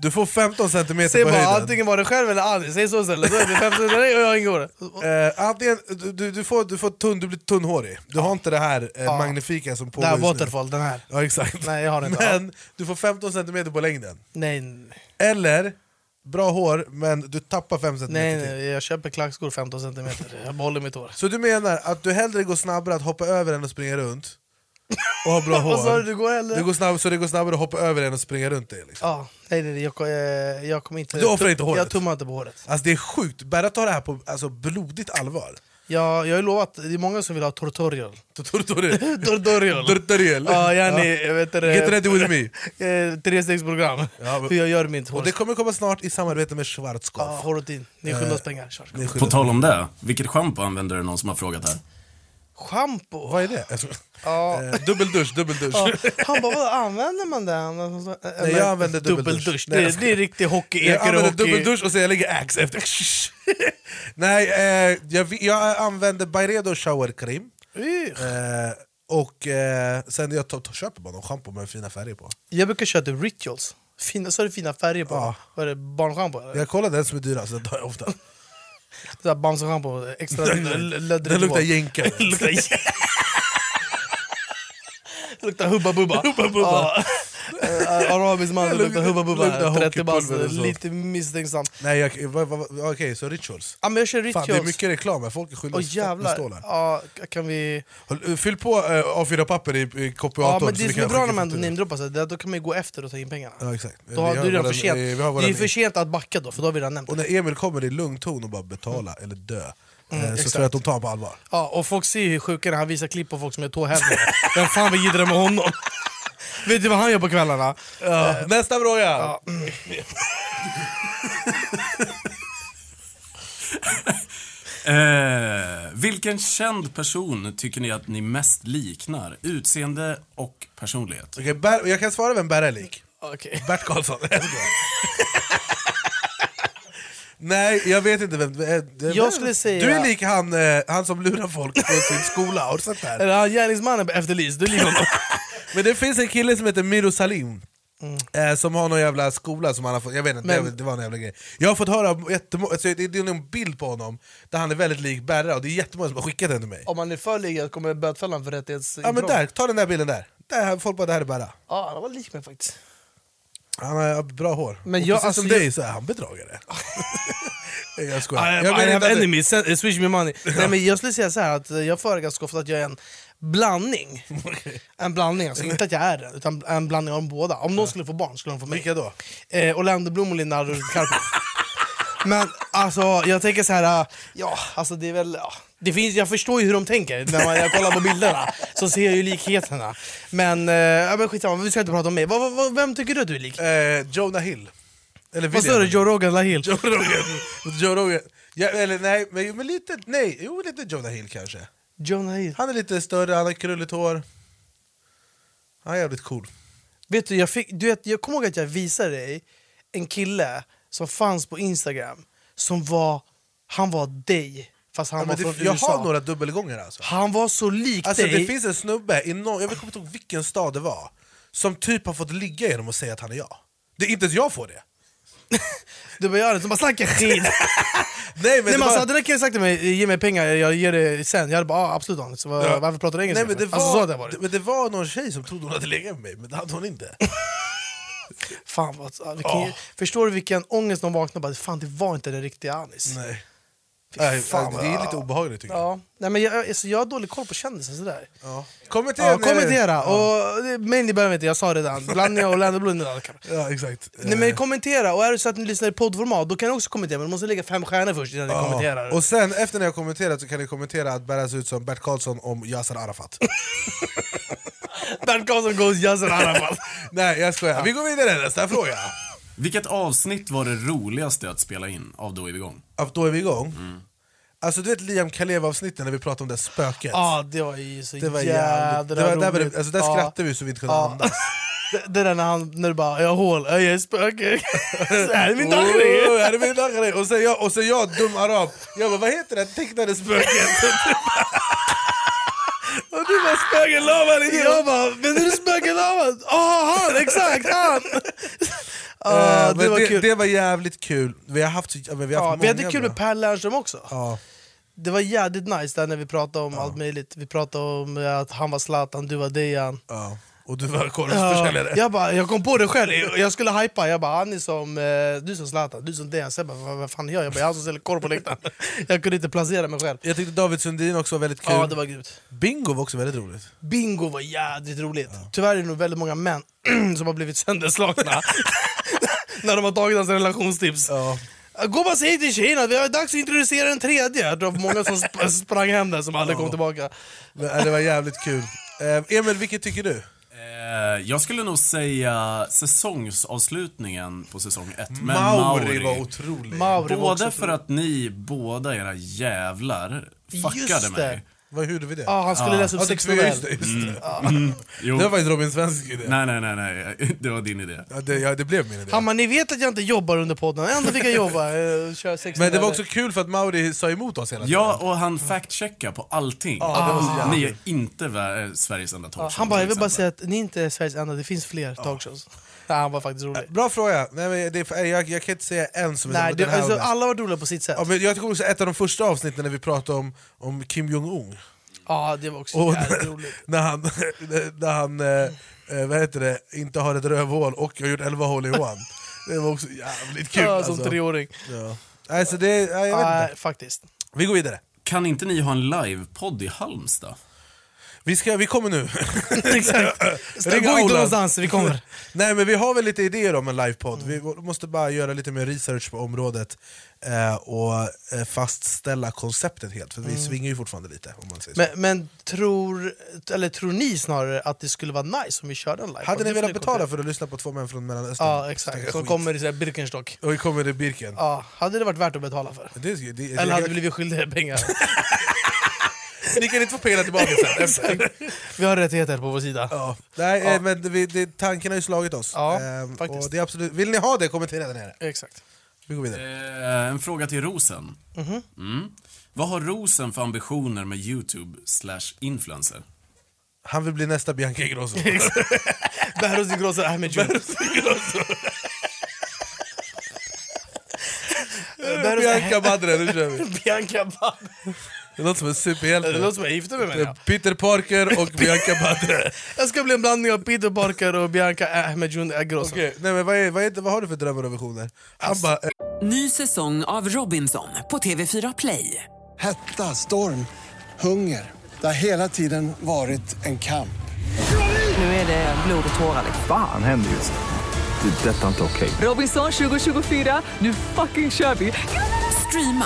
du får 15 cm Säg på bara höjden. antingen var det själv eller aldrig, säg så istället. Då är det 15 nej, och jag har ingen hår. Eh, antingen, du- du, du, får, du, får tunn, du blir tunnhårig, du har inte det här eh, magnifika som Den pågår här just nu. Waterfall, den här. Ja, exakt. Nej, jag har den inte. Men du får 15 cm på längden. Nej, nej, Eller, bra hår men du tappar 5 cm nej, till. nej, jag köper klackskor 15 cm. Jag behåller mitt hår. Så du menar att du hellre går snabbare att hoppa över än att springa runt? Och ha bra hår? Vad sa du, du går eller? Det går snabb, så det går snabbare att hoppa över än att springa runt det? Liksom. Ja, nej, nej, nej, jag, ko- eh, jag kommer inte... Du offrar inte håret? Jag tummar inte på håret. Alltså det är sjukt, Berra tar det här på alltså, blodigt allvar. Jag, jag har ju lovat, det är många som vill ha tortorial. Tortorial. Tortorial. Tortorial. Ja, yani, jag vet inte- Get ready with me. Eh, Trestegsprogram. Ja, men- Hur jag gör mitt hår. Och det kommer komma snart i samarbete med Schwarzkopf. Ja, Horotin. Eh, Ni skyndar oss pengar. Kör. Ni På skyddar- tal om det, vilket schampo använder du? Någon som har frågat här. Shampoo? Vad är det? Alltså, Ja. eh, dubbeldusch, dubbeldusch. Ja, han bara, vad använder man den? Alltså, eh, Nej, jag använder dubbeldusch. Nej, jag Det, det är riktig hockey, Jag eker och använder hockey. dubbeldusch och så jag lägger ax efter. Nej, eh, jag, vi- jag använder Byredo shower cream. Ugh. Eh, och eh, sen jag tar- tar- köper bara någon schampo med fina färger på. Jag brukar köra typ rituals. Fina, så är det fina färger på. Vad är det? Barnschampo? eller? Jag kollar den som är dyrast, den tar jag ofta. Det där Bamseschampo, extra Den- löddrigt. den luktar jänkare. Det luktar jä- Det luktar Hubba Bubba. Hubba Bubba. Ja. Eh, Arabisk man, det Luktar- luktar Hubba luktar Bubba. 30 bast, hockeypulver och så. lite misstänksamt. Nej, jag, vad- vad- vad- okej, så rituals. Ja, men jag kör Fan, det är rituals. mycket reklam här, folk är skyldiga Åh oss fett med stålar. jävlar. Ja, kan vi... Håll- Fyll på eh, A4-papper i, i Ja, kopiatorn. men så det vi som kan är bra skicka när man fakturor. namedroppar sig, det är att då kan man ju gå efter och ta in pengarna. Ja, exakt. Då har, Vi du har är det redan våran- för sent. vi har det är våran- ju för sent att backa då, för då har vi redan nämnt Och det. när Emil kommer i lugn ton och bara betala eller dö, Mm, eh, så exakt. tror jag att de tar honom på allvar. Ja, och folk ser ju hur sjuka när han visar klipp på folk som är tåhävningar. Vem fan vill jiddra med honom? Vet du vad han gör på kvällarna? Ja, Eh, nästa fråga! ja. Eh, vilken känd person tycker ni att ni mest liknar? Utseende och personlighet. Okej, Ber- jag kan svara vem Berra är lik. Okej. Bert Karlsson. Jag skojar. Nej, jag vet inte vem... eh, det- Jag skulle säga- Du är lik han, eh, han som lurar folk på sin skola, har du sett det här? Eller han gärningsmannen efter Lis, du ligger honom. Men det finns en kille som heter Miro Salim. Eh, som har någon jävla skola som han har fått, jag vet inte, Mm. Men- det, det var en jävla grej Jag har fått höra om jättemånga, alltså, det, det är en bild på honom där han är väldigt lik Berra och det är jättemånga som har skickat den till mig Om man är för ligad kommer bötfällan för rättighetsintrång. Ja men där, ta den där bilden där, där folk bara det här är Berra Ja, han var lik mig faktiskt. Han har bra hår, Men och jag- precis som alltså, jag- dig så är han bedragare Nej, Jag I, skojar, jag I menar have inte att- eh, enemies, send- swish me money. Nej, men jag skulle säga så här att eh, jag får höra ganska ofta att jag är en blandning. En blandning, alltså inte att jag är det, utan en blandning av dem båda. Om de skulle få barn skulle de få mig. Vilka då? Eh, Orlando Bloom och Linda Carpi. Men alltså, jag tänker så här, äh, ja, alltså det är väl... Ja. Det finns, jag förstår ju hur de tänker, när man, jag kollar på bilderna så ser jag ju likheterna. Men, eh, ja, men skitsamma, vi ska inte prata om mig. Vad- vad- vad- vem tycker du att du är lik? Eh, Jonah Hill. Eller Vad sa du? William. Joe Rogan Lahill? Joe Rogan. Joe Rogan. Ja, eller nej, men, men lite, nej, jo, lite Jonah Hill kanske. Jonah Hill. Han är lite större, han har krulligt hår. Han är jävligt cool. Vet du, jag, fick, du vet, jag kommer ihåg att jag visade dig en kille som fanns på Instagram som var, han var dig fast han Ja, var men det, från jag USA. har några dubbelgånger alltså. Han var så lik Alltså dig. det finns en snubbe, i någon, jag kommer inte ihåg vilken stad det var, som typ har fått ligga genom att säga att han är jag. Det är inte ens jag får det. Du bara gör det, så bara snacka skit. Nej Nej, det men var- alltså, hade den killen sagt till mig ge mig pengar, jag ger det sen. Jag hade bara ah, absolut Daniel, så var, Ja. varför pratar du engelska? Nej, men, det var, alltså, så hade jag varit. men det var någon tjej som trodde hon hade legat med mig, men det hade hon inte. Fan, vad, ah, vilken, Ah. Förstår du vilken ångest de vaknade och bara fan det var inte den riktiga Anis. Nej. Fy Nej, fan, det är vad- lite obehagligt tycker jag. Ja. Nej, men jag, alltså, jag har dålig koll på kändisar sådär. Ja. Kommentera! Ja, nu. kommentera! Typ, Ja. Och, men ni behöver inte, jag sa redan. Blandning av Orlando Bloom och Alcap. Ja, exakt. Nej men kommentera, och är det så att ni lyssnar i poddformat då kan ni också kommentera, men du måste lägga fem stjärnor först innan ni Ja. kommenterar. Och sen efter när jag kommenterat så kan ni kommentera att bäras ut som Bert Karlsson om Yasser Arafat. Bert Karlsson goes Yasser Arafat. Nej jag skojar. Vi går vidare nästa fråga. Vilket avsnitt var det roligaste att spela in av Då är vi igång? Att Då är vi igång. Alltså du vet Liam Kalev-avsnittet när vi pratade om det spöket? Ja, det var ju så Det var jädra jävligt- det var- där var det- roligt. alltså, där Ja. skrattade vi så vi inte kunde andas. Det, det där när, han, när du bara, jag har hål, jag är spöke. Så här är min dag. Oh, här är min dagare. Och sen jag, och sen jag dum arab, jag bara vad heter det tecknade spöket? Och du bara spökelovad! Jag bara, men är du spökelovad? Ja, han, exakt han! Ja, Eh, det men var det, kul. det var jävligt kul. Vi har haft, så- ja, men vi har Ja, haft vi många hade kul bra. med Per Lernström också. Ja. Det var jävligt nice där när vi pratade om allt möjligt. Vi pratade om eh, att han var Zlatan, du var Dejan. Ja. Och du var korvförsäljare. jag, bara, jag kom på det själv, Jag- jag skulle hypa. Jag bara, han är som, eh, du som Zlatan, du som Dejan. Sen bara, vad, vad fan är jag? Jag bara, jag är han som säljer korv på läktaren. Jag kunde inte placera mig själv. Jag tyckte David Sundin också var väldigt kul. Ja, det var grymt. Bingo var också väldigt roligt. Bingo var jävligt roligt. Tyvärr är det nog väldigt många män som har blivit sönderslagna när de har tagit hans relationstips. Gå bara och säg till tjejerna att vi har dags att introducera en tredje. Jag tror det var många som sp- sprang hem där som aldrig kom tillbaka. Men, eh, det var jävligt kul. Eh, Emil, vilket tycker du? Eh, jag skulle nog säga säsongsavslutningen på säsong ett. Men Mauri Mauri, var otrolig. Mauri var också Både otrolig. för att ni båda era jävlar fuckade Just det. mig. Vad gjorde vi det? Ja, han skulle läsa upp Ja, sex det- novell. just det, just det. Mm. Det var faktiskt Robin Svensk idé. Nej, nej, nej, nej. Det var din idé. Ja, det, ja, det blev min idé. Hammar, ni vet att jag inte jobbar under podden. Ändå fick jag jobba. eh, Köra sex Men det var noveller. också kul för att Mauri sa emot oss hela tiden. Ja, och han fact-checkar på allting. Ja, det var så jävla- Ni är inte vä- eh, Sveriges enda Ja, talkshow. han bara, jag till vill bara exempel. säga att ni inte är Sveriges enda, det finns fler talkshows. Nej, han var faktiskt rolig. Bra fråga. Nej, men det, är- jag, jag kan inte säga en som är Nej, den det, här var alltså, bäst. alla var roliga på sitt sätt. Ja, men jag kommer ihåg ett av de första avsnitten när vi pratade om, om Kim Jong-Un. Ja, det var också Och jävligt roligt. när han, när han eh, eh, vad heter det, inte har ett rövhål och har gjort 11 hål i one. Det var också jävligt kul. alltså. Ja, som treåring. Ja. Alltså, det, ja, jag vet Nej, inte. faktiskt. Vi går vidare. Kan inte ni ha en livepodd i Halmstad? Vi, ska, vi kommer nu. Exakt. Gå Ring inte Ola. någonstans, vi kommer. Nej men vi har väl lite idéer om en livepodd, vi måste bara göra lite mer research på området eh, och eh, fastställa konceptet helt, för vi Mm. svingar ju fortfarande lite. Om man säger så. Men, men tror, eller tror ni snarare att det skulle vara nice om vi körde en live? Hade ni Det får velat betala kommentera. för att lyssna på två män från Mellanöstern? Ja, Snacka exakt. Som skit. kommer i så här Birkenstock. Och vi kommer i Birken. Ja, hade det varit värt att betala för? Det, är- det, Eller hade jag- vi blivit skyldiga pengar? Ni kan inte få pengarna tillbaka sen. Exakt. efter. Vi har rättigheter på vår sida. Ja. Nej, eh, Ja. men vi, det, tanken har ju slagit oss. Ja, Ehm, faktiskt. och det är absolut, vill ni ha det, kommentera där nere. Exakt. Vi går vidare. Eh, en fråga till Rosen. Mhm. Mm. Vad har Rosen för ambitioner med YouTube slash influencer? Han vill bli nästa Bianca Ingrosso. Behrouz Ingrosso Ahmed Junior. Behrouz- Bianca Badre, nu kör vi. Bianca Badre. Det låter som en superhjälte. Det låter som jag gifte mig med henne. Peter Parker och Bianca Badre. Jag ska bli en blandning av Peter Parker och Bianca äh, Ahmed Junior Grosso. Okej, nej, men vad, är, vad, är, vad har du för drömmar och visioner? Han Alltså, bara... eh, Ny säsong av Robinson på TV4 Play. Hetta, storm, hunger. Det har hela tiden varit en kamp. Nu är det blod och tårar. liksom. Fan händer just det. Det är detta inte okej. Robinson 2024, nu fucking kör vi! Streama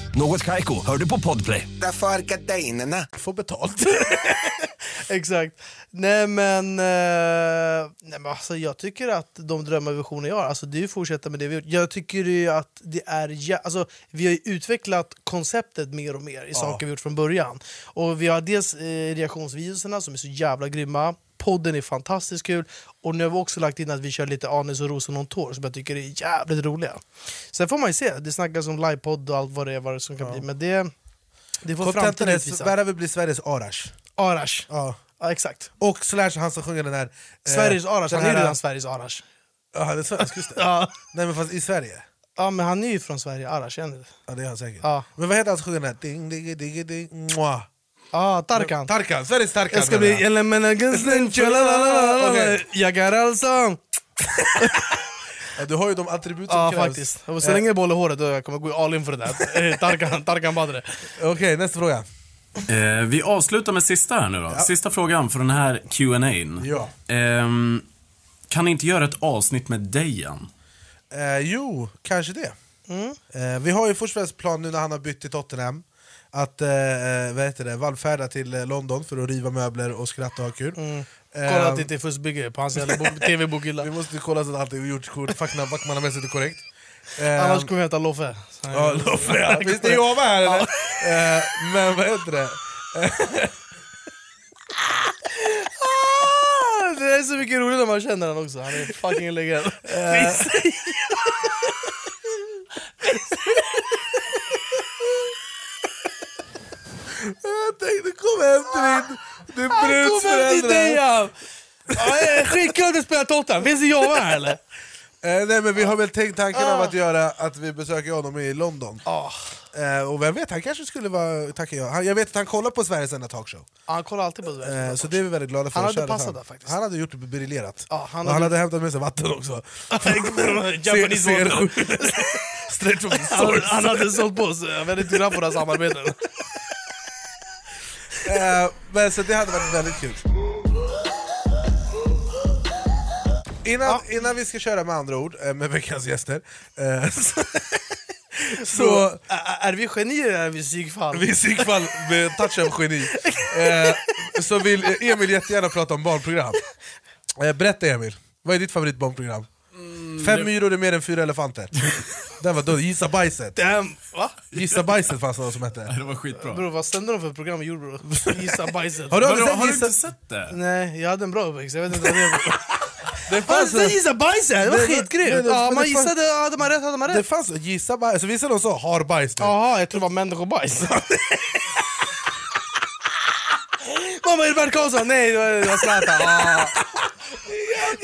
Något Kaiko, hör du på podplay. Därför är gardinerna. Får betalt. Exakt. Nej men, eh, nej, men alltså, jag tycker att de drömmar och visioner jag har, alltså, det är ju att fortsätta med det vi har gjort. Jag tycker ju att det är, jä- alltså, vi har ju utvecklat konceptet mer och mer i saker vi gjort från början. Och vi har dels eh, reaktionsvideorna som är så jävla grymma, podden är fantastiskt kul och nu har vi också lagt in att vi kör lite Anis och Rosen on tour som jag tycker är jävligt roliga. Sen får man ju se, det snackas om livepodd och allt vad det är vad det som kan bli, men det, det får Kontenten framtiden är, utvisa. Berhavi blir Sveriges Arash. Arash. Ja. exakt. Och Slash, han som sjunger den här... eh, Sveriges Arash, den han är ju här- redan Sveriges Arash. Ja, han är svensk, just det. Nej men fast i Sverige. Ja men han är ju från Sverige, Arash, är han inte? Ja det är han säkert. Ja. Men vad heter han som sjunger den här? Ding, ding, ding, ding, mwah. Ah, Tarkan. Tarkan, Sveriges Tarkan. Jag ska menar bli element Okej. Jag är allsång! Ja, Du har ju de attribut som Ja krävs. faktiskt. Eh. Och Så länge jag behåller håret då jag kommer gå all in för det där. Eh, Tarkan, Tarkan Badre. Okej, nästa fråga. Eh, vi avslutar med sista här nu då. Sista frågan för den här Q&A'n. Ja. Ehm, kan ni inte göra ett avsnitt med Dejan? Eh, jo, kanske det. Mm. Eh, vi har ju först och främst plan nu när han har bytt till Tottenham att eh, vad heter det, vallfärda till eh, London för att riva möbler och skratta och ha kul. Mm. Eh, Kolla att det inte är fuskbygge på hans jävla bo- tv-bokhylla. Vi måste kolla så att allt är gjort kort- fackna- fackmannamässigt är korrekt. Eh, Annars kommer jag heta Loffe. Så- Ja, Loffe ja. Visst är Jova här eller? Eh, men vad heter det? Ah, Det är så mycket roligt när man känner honom också. Han är fucking en legend. Visst. Jag tänkte kom hem till din, din Han bruds kom hem till dig, föräldrar. ja. Ja, eh, Skitkul att du spelar Tottenham. Finns det Jova här eller? Eh, nej men vi har väl tänkt tanken av Ah. att göra att vi besöker honom i London. Eh, och vem vet, han kanske skulle vara... Tackar jag. Han, jag vet att han kollar på Sveriges enda talkshow. Ja, Han kollar alltid på det. Eh, så det är vi väldigt glada för. Han hade Kära passat fan. där, faktiskt. Han hade gjort det briljerat. Ja, han och han hade- hade hämtat med sig vatten också. Japanese Ser- ser- water. Straight from the Han, source. han hade sålt på sig. Jag vet inte hur han får det här samarbetet. Eh, men så det hade varit väldigt kul. Innan, innan vi ska köra med andra ord, eh, med veckans gäster, eh, så, Så, så ä- är vi genier eller är vi psykfall? vi i Sigfall med touch av geni, eh, så vill eh, Emil jättegärna prata om barnprogram. Eh, berätta Emil, vad är ditt favoritbarnprogram? Mm, Fem myror är mer än fyra elefanter. Den var dum, gissa bajset. Damn, va? Gissa bajset fanns det något som hette. Det var skitbra. Bror vad sände de för program vi gjorde bror? Gissa bajset. Har du aldrig Vadå, sett Gissa- sett det? Nej, jag hade en bra uppväxt. Jag vet inte vad det är. Det Har du sett Gissa bajset? Det var Nej, men- nej, skitgrymt! det- men Ja, man det fanns- gissade, hade man rätt hade man Det rätt. fanns gissa bajs, alltså, vissa de sa har bajs nu. Jaha, jag tror det var människobajs. Mamma, är det Bert Karlsson? Nej, det var- det var Zlatan. Ah.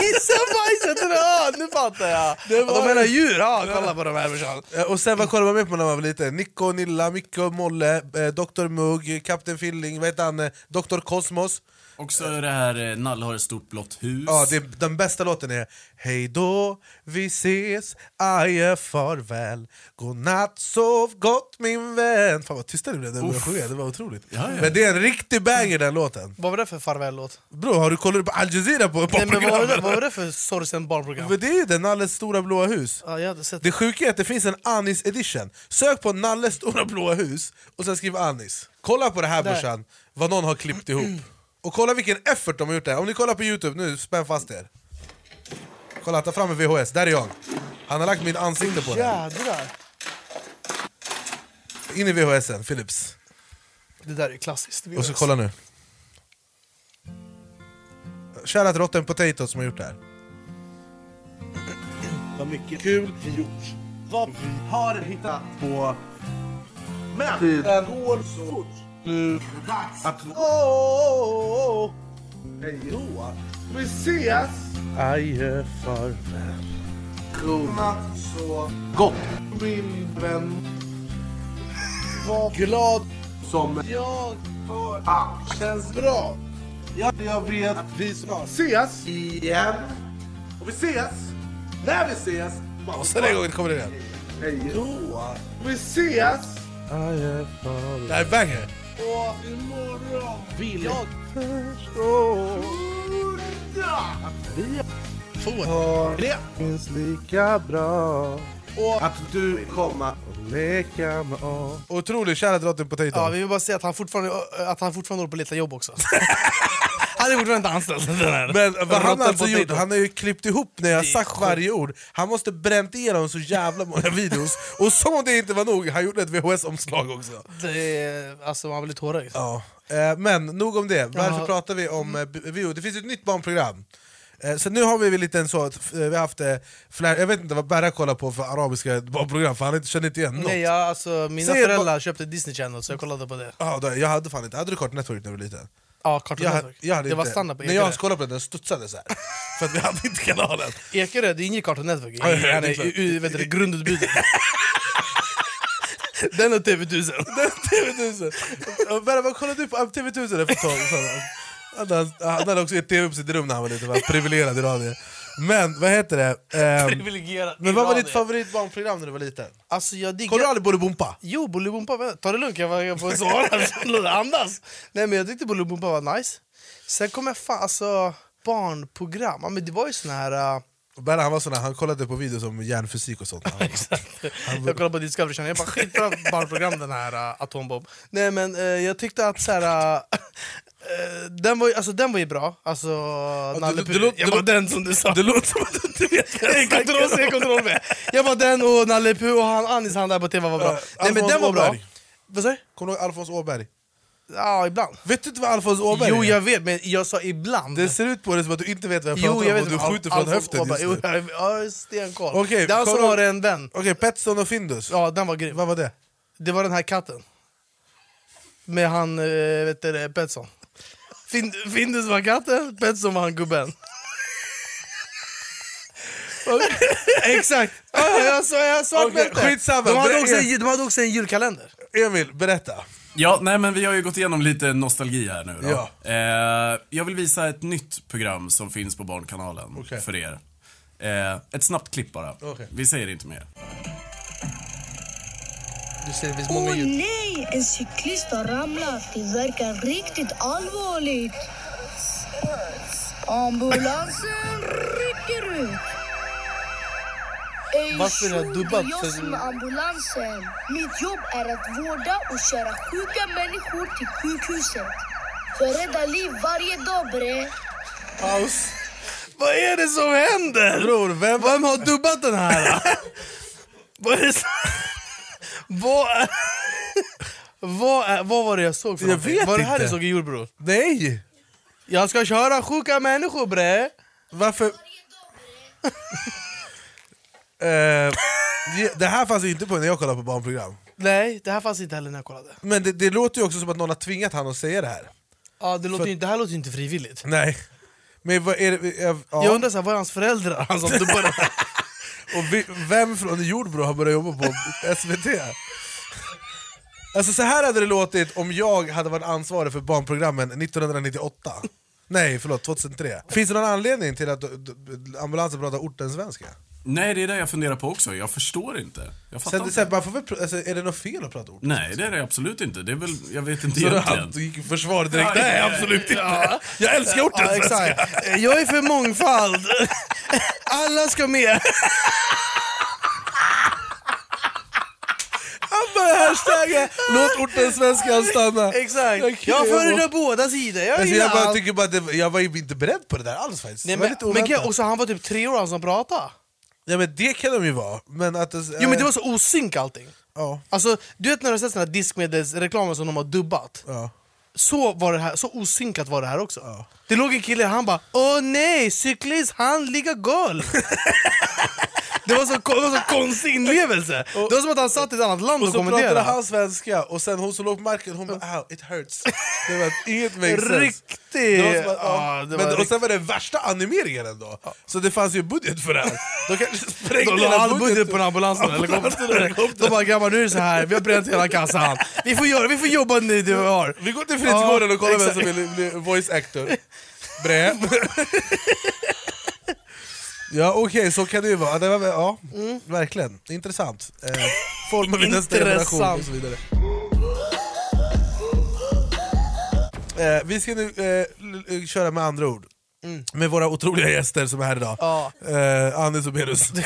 Gissa bajset! Ja, nu fattar jag. alltså. Det var- De menar djur. Ja, kolla på de här brorsan. Eh, Och sen vad kollade man med på när man var liten? Nico, Nilla, Micke, Molle, eh, Dr Mugg, Kapten Filling, vad heter han? eh, Dr Kosmos. Och så är det här eh, Nalle har ett stort blått hus. Ja, det, den bästa låten är Hej då, vi ses, adjö, farväl Godnatt, sov gott min vän Fan vad tysta det blev när jag började sjunga, det var otroligt. ja. Men det är en riktig banger den låten. Vad var det för farväl-låt? Bro, har du kollat på Al Jazeera på Nej, men vad, var det, vad var barnprogrammet? det för sorgsen barnprogram? Men det är ju den, Nalles stora blåa hus. Ja, jag hade sett Det sjuka är att det finns en Anis edition. Sök på Nalles stora blåa hus och sen skriv Anis. Kolla på det här Där. brorsan, vad någon har klippt ihop. Och kolla vilken effort de har gjort där. Om ni kollar på Youtube nu, spänn fast er. Kolla, ta fram en VHS. Där är jag. Han har lagt mitt ansikte på den. Jädrar! In i VHSen, Philips. Det där är klassiskt. Och så kolla nu. Shoutout Rotten Potato som har gjort det här. Vad mycket kul vi gjort. Vad vi har hittat på. Men det går så fort. nu att... Åh, åh, åh. Hej då. Vi ses. Adjö farväl. Godnatt så gott. Min vän. Var glad som jag för allt känns bra. Ja, jag vet att vi snart ses igen. Och vi ses när vi ses. Och sen en gång kommer det igen. Hej då. Vi ses. Adjö farväl. Det här är banger. Och imorgon vill jag förstå att vi får det minst lika bra och att du kommer och leka med oss. Otrolig shout out till Potato. Ja, vi vill bara säga att han fortfarande, att han fortfarande håller på att leta jobb också. han är fortfarande inte anställd. den här Men vad han rotten har alltså potato. gjort, han har ju klippt ihop när jag sagt varje ord. Han måste bränt igenom så jävla många videos. Och som om det inte var nog, han gjorde ett VHS-omslag också. Det är, alltså, man blir tårögd. Ja. Eh, Men nog om det, varför Ja. pratar vi om eh, bu- bio? Det finns ju ett nytt barnprogram. Eh, Så nu har vi väl lite en så, att, eh, vi har haft, eh, flera, jag vet inte vad Berra kollar på för arabiska barnprogram, för han inte- känner inte igen något. Nej, jag, alltså, mina Säg föräldrar köpte Disney Channel så jag kollade på det. Ja, då, jag hade fan inte, hade du Cartoon Network när du var liten? Ja, Cartoon jag, Network. Jag hade Det var inte- standard på E När jag Ekerö. kollade på den, den studsade så här. för att vi hade inte kanalen. Ekerö, det ingick Cartoon Network i Ja, ja, ja, det är klart. vet du, det, grundutbudet. den och TV1000. TV1000! Berra, vad kollade du typ på? Ja, TV1000 för ett tag sedan. Han hade- Han hade också ett TV på sitt rum när han var liten, var privilegierad i radio. Men vad heter det? Ehm, Privilegierat men vad var i ditt radio. favoritbarnprogram när du var liten? Alltså, jag diggar... Kollade du aldrig Bolibompa? Jo, Bolibompa, var- ta det lugnt, jag var- jag får svara. Låt det andas. Nej, men jag tyckte Bolibompa var nice. Sen kom jag fan, alltså, barnprogram. Ja, Men det var ju sån här... äh, Berra han var sån där, han kollade på videos om hjärnfysik och sånt. Han, Jag kollade på Discovery Channel, jag bara skitbra barnprogram den här äh, Atombomb. Nej men eh, jag tyckte att så här, äh, eh, den, var, ju- alltså, den var ju bra, alltså Nalle du- Puh. du låter- Jag du bara låter- den som du sa. det låter som att du inte vet vad jag Kontroll snackar C, om. kontroll V. Jag bara den och Nalle Puh och han, Anis han där på TV var bra. Nej men Alfons den var bra. Åberg. Vad säger du? Kommer du ihåg Alfons Åberg? Ja, ibland. Vet du inte vad Alfons Åberg Jo är? jag vet, men jag sa ibland. Det ser ut på dig som att du inte vet vad jag Jo, pratar jag om vet och du inte vad skjuter Al- från Alfons höften Åberg. just Jo, nu. jag har stenkoll. Okej, det är han som kolla- har en vän. Okej, Petson och Findus. Ja, den var grym. Vad var det? Det var den här katten. Med han, eh, vet du det, Petson. Fin- Findus var katten, Petson var han gubben. Exakt! Ja, Jag sa jag svartmälte! Okej, skitsamma. de, hade Det också är- en, de hade också en julkalender. Emil, berätta. Ja, nej men vi har ju gått igenom lite nostalgi här nu då. Ja. Eh, jag vill visa ett nytt program som finns på Barnkanalen Okej. för er. Eh, ett snabbt klipp bara. Okej. Vi säger inte mer. Du ser, det finns Åh många ljud. nej, en cyklist har ramlat. Det verkar riktigt allvarligt. Ambulansen rycker ut. Ej, Varför är det här tjo, dubbat? det är jag som är ambulansen. Mitt jobb är att vårda och köra sjuka människor till sjukhuset. Jag räddar liv varje dag, bre. Paus. Vad är det som händer? Bror, vem... Vem har dubbat den här? vad är det som... vad, är... vad, är... vad var det jag såg för Jag någonting? vet Var det här inte. jag såg i Jordbro? Nej! Jag ska köra sjuka människor bre! Varför... Eh, det- det här fanns ju inte på när jag kollade på barnprogram. Nej, det här fanns inte heller när jag kollade. Men det, det låter ju också som att någon har tvingat han att säga det här. Ja, det, låter ju, det här låter ju inte frivilligt. Nej. Men vad är det... eh, Ja. Jag undrar så här, var är hans föräldrar? Han som dubbade den här. Och vi, vem från Jordbro har börjat jobba på SVT? Alltså så här hade det låtit om jag hade varit ansvarig för barnprogrammen 1998. Nej, förlåt, 2003. Finns det någon anledning till att d- d- ambulansen pratar ortensvenska? Nej, det är det jag funderar på också. Jag förstår inte. Jag fattar Sen, inte. sen, man får väl, pr- alltså, är det något fel att prata ort? Nej, det är det absolut inte. Det är väl, jag vet inte Så då egentligen. han gick i försvar direkt? Ja, Nej, ja, absolut inte! ja. Jag älskar Ja, ortensvenska! exakt. Jag är för mångfald. Alla ska med. Han börjar hashtagga låt ortensvenskan stanna! Exakt. Jag föredrar båda sidor. Jag Alltså, gillar jag, bara, allt. tycker bara att det, jag var ju inte beredd på det där alls faktiskt. Nej, det var men, lite men oväntat. kan- och så han var typ tre år han som pratade. Ja men det kan de ju vara, men att... Jo men det var så osynk allting. Eh. Ja. Alltså, du vet när du har sett såna här diskmedelsreklamer som de har dubbat? Ja. Så, var det här, så osynkat var det här också. Det låg en kille, han bara Åh nej, cyklist, han ligger golv! Det var så, det var så konstig inlevelse. Det var som att han satt i ett annat land och, Och så pratade kommenterade. han svenska och sen hon som låg på marken hon bara ow, it hurts. Det var inget makes sense. Riktig- Det var som att, Ja, ja. det var Men, och rikt- sen var det värsta animeringen ändå. Så det fanns ju budget för det här. De kanske sprängde De la hela all budget på den ambulansen eller helikoptern. De bara grabbar nu är det så här, vi har bränt hela kassan. Vi får, göra, vi får jobba nu du och jag har. Vi går till Fritidsgården och kollar vem som exakt. vill bli voice actor. Brä. Ja okej, så kan det ju vara. Det var, väl- ja, Verkligen, intressant. Eh, form av nästa generation och så vidare. Eh, vi ska nu eh, l- l- köra med andra ord. Med våra otroliga gäster som är här idag. Ja. Eh, Anis och Berus. Det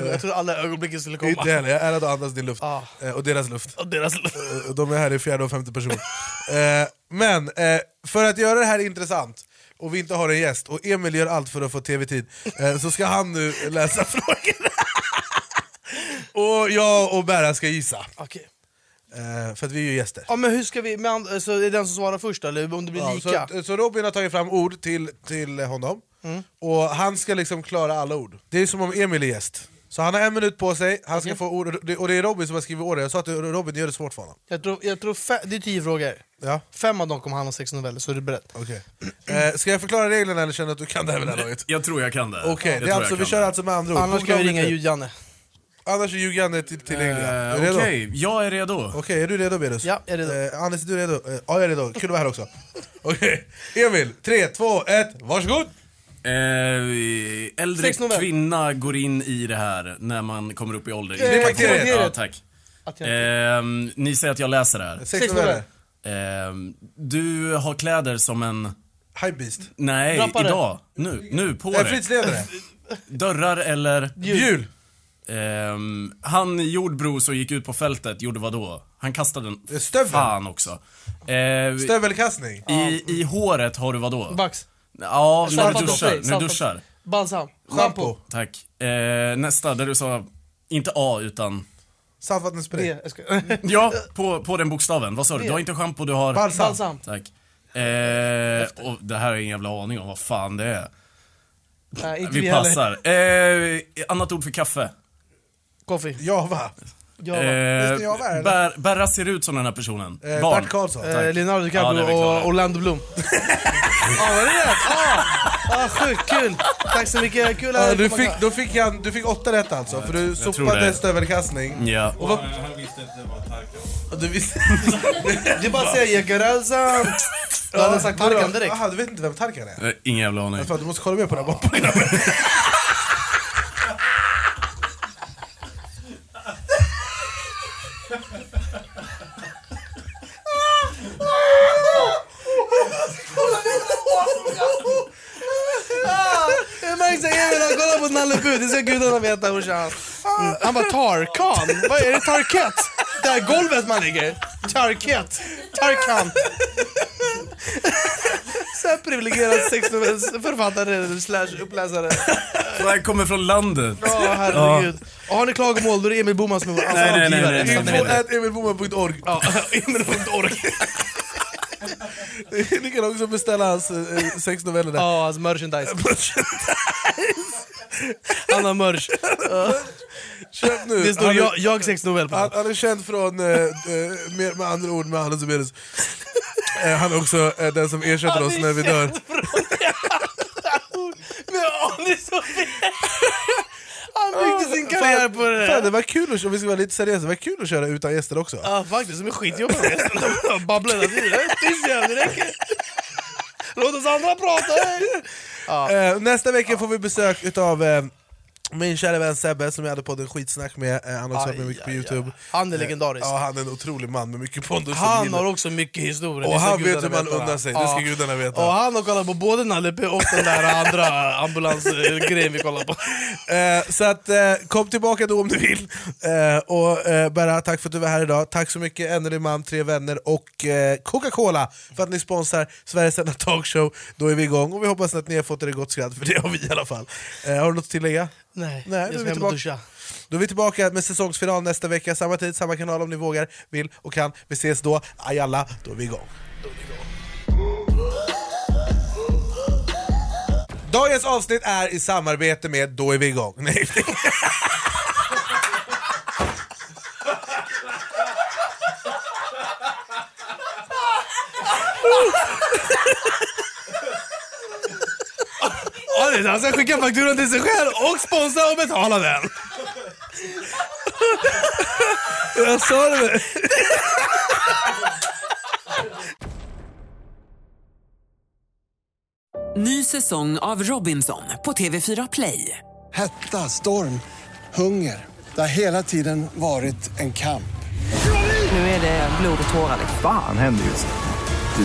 var- Jag trodde alla ögonblicken skulle komma. Inte heller, jag är att andas din luft. Eh, och deras luft. Och deras Eh, De är här i fjärde och femte person. eh, men eh, för att göra det här intressant, och vi inte har en gäst, och Emil gör allt för att få tv-tid, eh, så ska han nu läsa frågorna. och jag och Berra ska gissa. Okej. Eh, för att vi är ju gäster. Ja men hur ska vi, med and- så är det den som svarar först eller om det blir Ja, lika? så, så Robin har tagit fram ord till, till honom, och han ska liksom klara alla ord. Det är som om Emil är gäst. Så han har en minut på sig, han ska få ord, och det- och det är Robin som har skrivit orden. Jag sa att Robin gör det svårt för honom. Jag tror, jag tror fe- det är tio frågor. Ja. Fem av dem kommer handla om sex noveller, så är du beredd. Okay. Eh, ska jag förklara reglerna eller känner du att du kan det här vid det här laget? Jag tror jag kan det. Okej, Jag det tror är alltså, jag vi kan kör det. alltså med andra ord. Annars ska vi ringa Ljud-Janne. Annars är ljud-Janne till, tillgänglig. Eh, Är du redo? Okej, jag är redo. Okej, är du redo Berus? Ja, jag är redo. Eh, Anders, är du redo? Eh, ja, jag är redo. Kul att vara här också. Okej, Emil. Tre, två, ett, varsågod! Eh, äldre Sex novell. kvinna går in i det här när man kommer upp i ålder. Eh, klimakteriet. Ja, tack. Att jag- Ehm, ni säger att jag läser det här. Sex Sex noveller. Ehm, du har kläder som en... Hypebeast. Nej, Rappare. idag. Nu, nu på En dig. fritidsledare. Dörrar eller... Hjul. Ehm, han gjorde Bros och gick ut på fältet, gjorde vad då? Han kastade en... Stövel. Fan också. Ehm, Stövelkastning. I, I håret har du vad då? Bax. Ja, när Saltat du duschar. doppel. När du Saltat. duschar. Balsam. Shampoo. Tack. Eh, nästa, där du sa, inte A utan... Saltvattenspray. Det, jag skojar. Ja, på, på den bokstaven. Vad sa du? Du har inte schampo, du har... Balsam. Balsam. Tack. Eh, och det här är ingen jävla aning om vad fan det är. Nej, inte Vi heller. passar. Eh, annat ord för kaffe. Coffee. Java. Java. Eh, Ber- Berra ser ut som den här personen. Eh, Barn. Bert Karlsson. Tack. Eh, Leonardo det DiCaprio är vi klara. och Orlando Bloom. Ja, var det rätt? Ja! Ah, sjukt kul! Tack så mycket, kul Ja, att Eh, du, komma fick, då fick han, du fick åtta rätt alltså, för du tror sopade det. stövelkastning. Ja. Och vad, Han visste inte vad Tarkan och du visste... Det är bara att säga alltså-" Jägerälsan. Du hade sagt Tarkan direkt. Aha, du vet inte vem Tarkan är? Eh, Ingen jävla aning. Fan, du måste kolla med på det här barnprogrammet. Ah, Jag märks att Emil har kollat på Nalle Puh, det ska gudarna veta brorsan. Mm. Han bara Tarkan, vad är det Tarkett? Det här golvet man ligger. Tarkett, Tarkan. Så här privilegierad sexnovellsförfattare slash uppläsare. Det här kommer från landet. Ja, herregud. Alltså, Och har ni klagomål då är det Emil Boman som är vår Nej, nej, nej, ansvarig nej. utgivare. Info at Emilboman.org. Ja, Emil.org. Ni kan också beställa hans eh, sex noveller där. Ja, alltså merchandise. Han har merch. Köp nu. Det står Han är- jag, jag sex novell på Han, han är känd från, eh, eh, med, med andra ord, med Anders Zebelius. Eh, han är också eh, den som ersätter oss när vi dör. Men Anis och Han byggde sin karriär på det Fan, där. det var kul att, om vi ska vara lite seriösa, det var kul att köra utan gäster också. Ja faktiskt, de är skitjobbiga. De babblar hela tiden. Tyst jävel, det räcker. Låt oss andra prata. Eh, nästa vecka får vi besök utav eh, min kära vän Sebbe som jag hade podden Skitsnack med. Eh, han har också varit med Aj, mycket på aj, Youtube. Han är legendarisk. Eh, ja, han är en otrolig man med mycket pondus. och Han gillar- har också mycket historia. Och det ska han vet gudarna hur man veta. unnar sig, det ska gudarna veta. Och han har kollat på både Nalle Puh och den där andra ambulansgrejen vi kollade på. Eh, så att, eh, kom tillbaka då om du vill. Eh, och eh, Berra, tack för att du var här idag. Tack så mycket Ennerly Man, Tre Vänner och eh, Coca-Cola för att ni sponsrar Sveriges enda talkshow. Då är vi igång och vi hoppas att ni har fått er ett gott skratt, för det har vi i alla fall. Eh, har du något att tillägga? Nej, Nej, jag då är ska vi hem och tillbaka. duscha. Då är vi tillbaka med säsongsfinal nästa vecka. Samma tid, samma kanal om ni vågar, vill och kan. Vi ses då. Aj alla, då är vi igång. Då är vi igång. Dagens avsnitt är i samarbete med Då är vi igång. Nej. Ja, Han ska skicka fakturan till sig själv och sponsra och betala den. Jag sa det. Ny säsong av Robinson på TV4 Play. Hetta, storm, hunger. Det har hela tiden varit en kamp. Nu är det blod och tårar. liksom. Fan händer just det.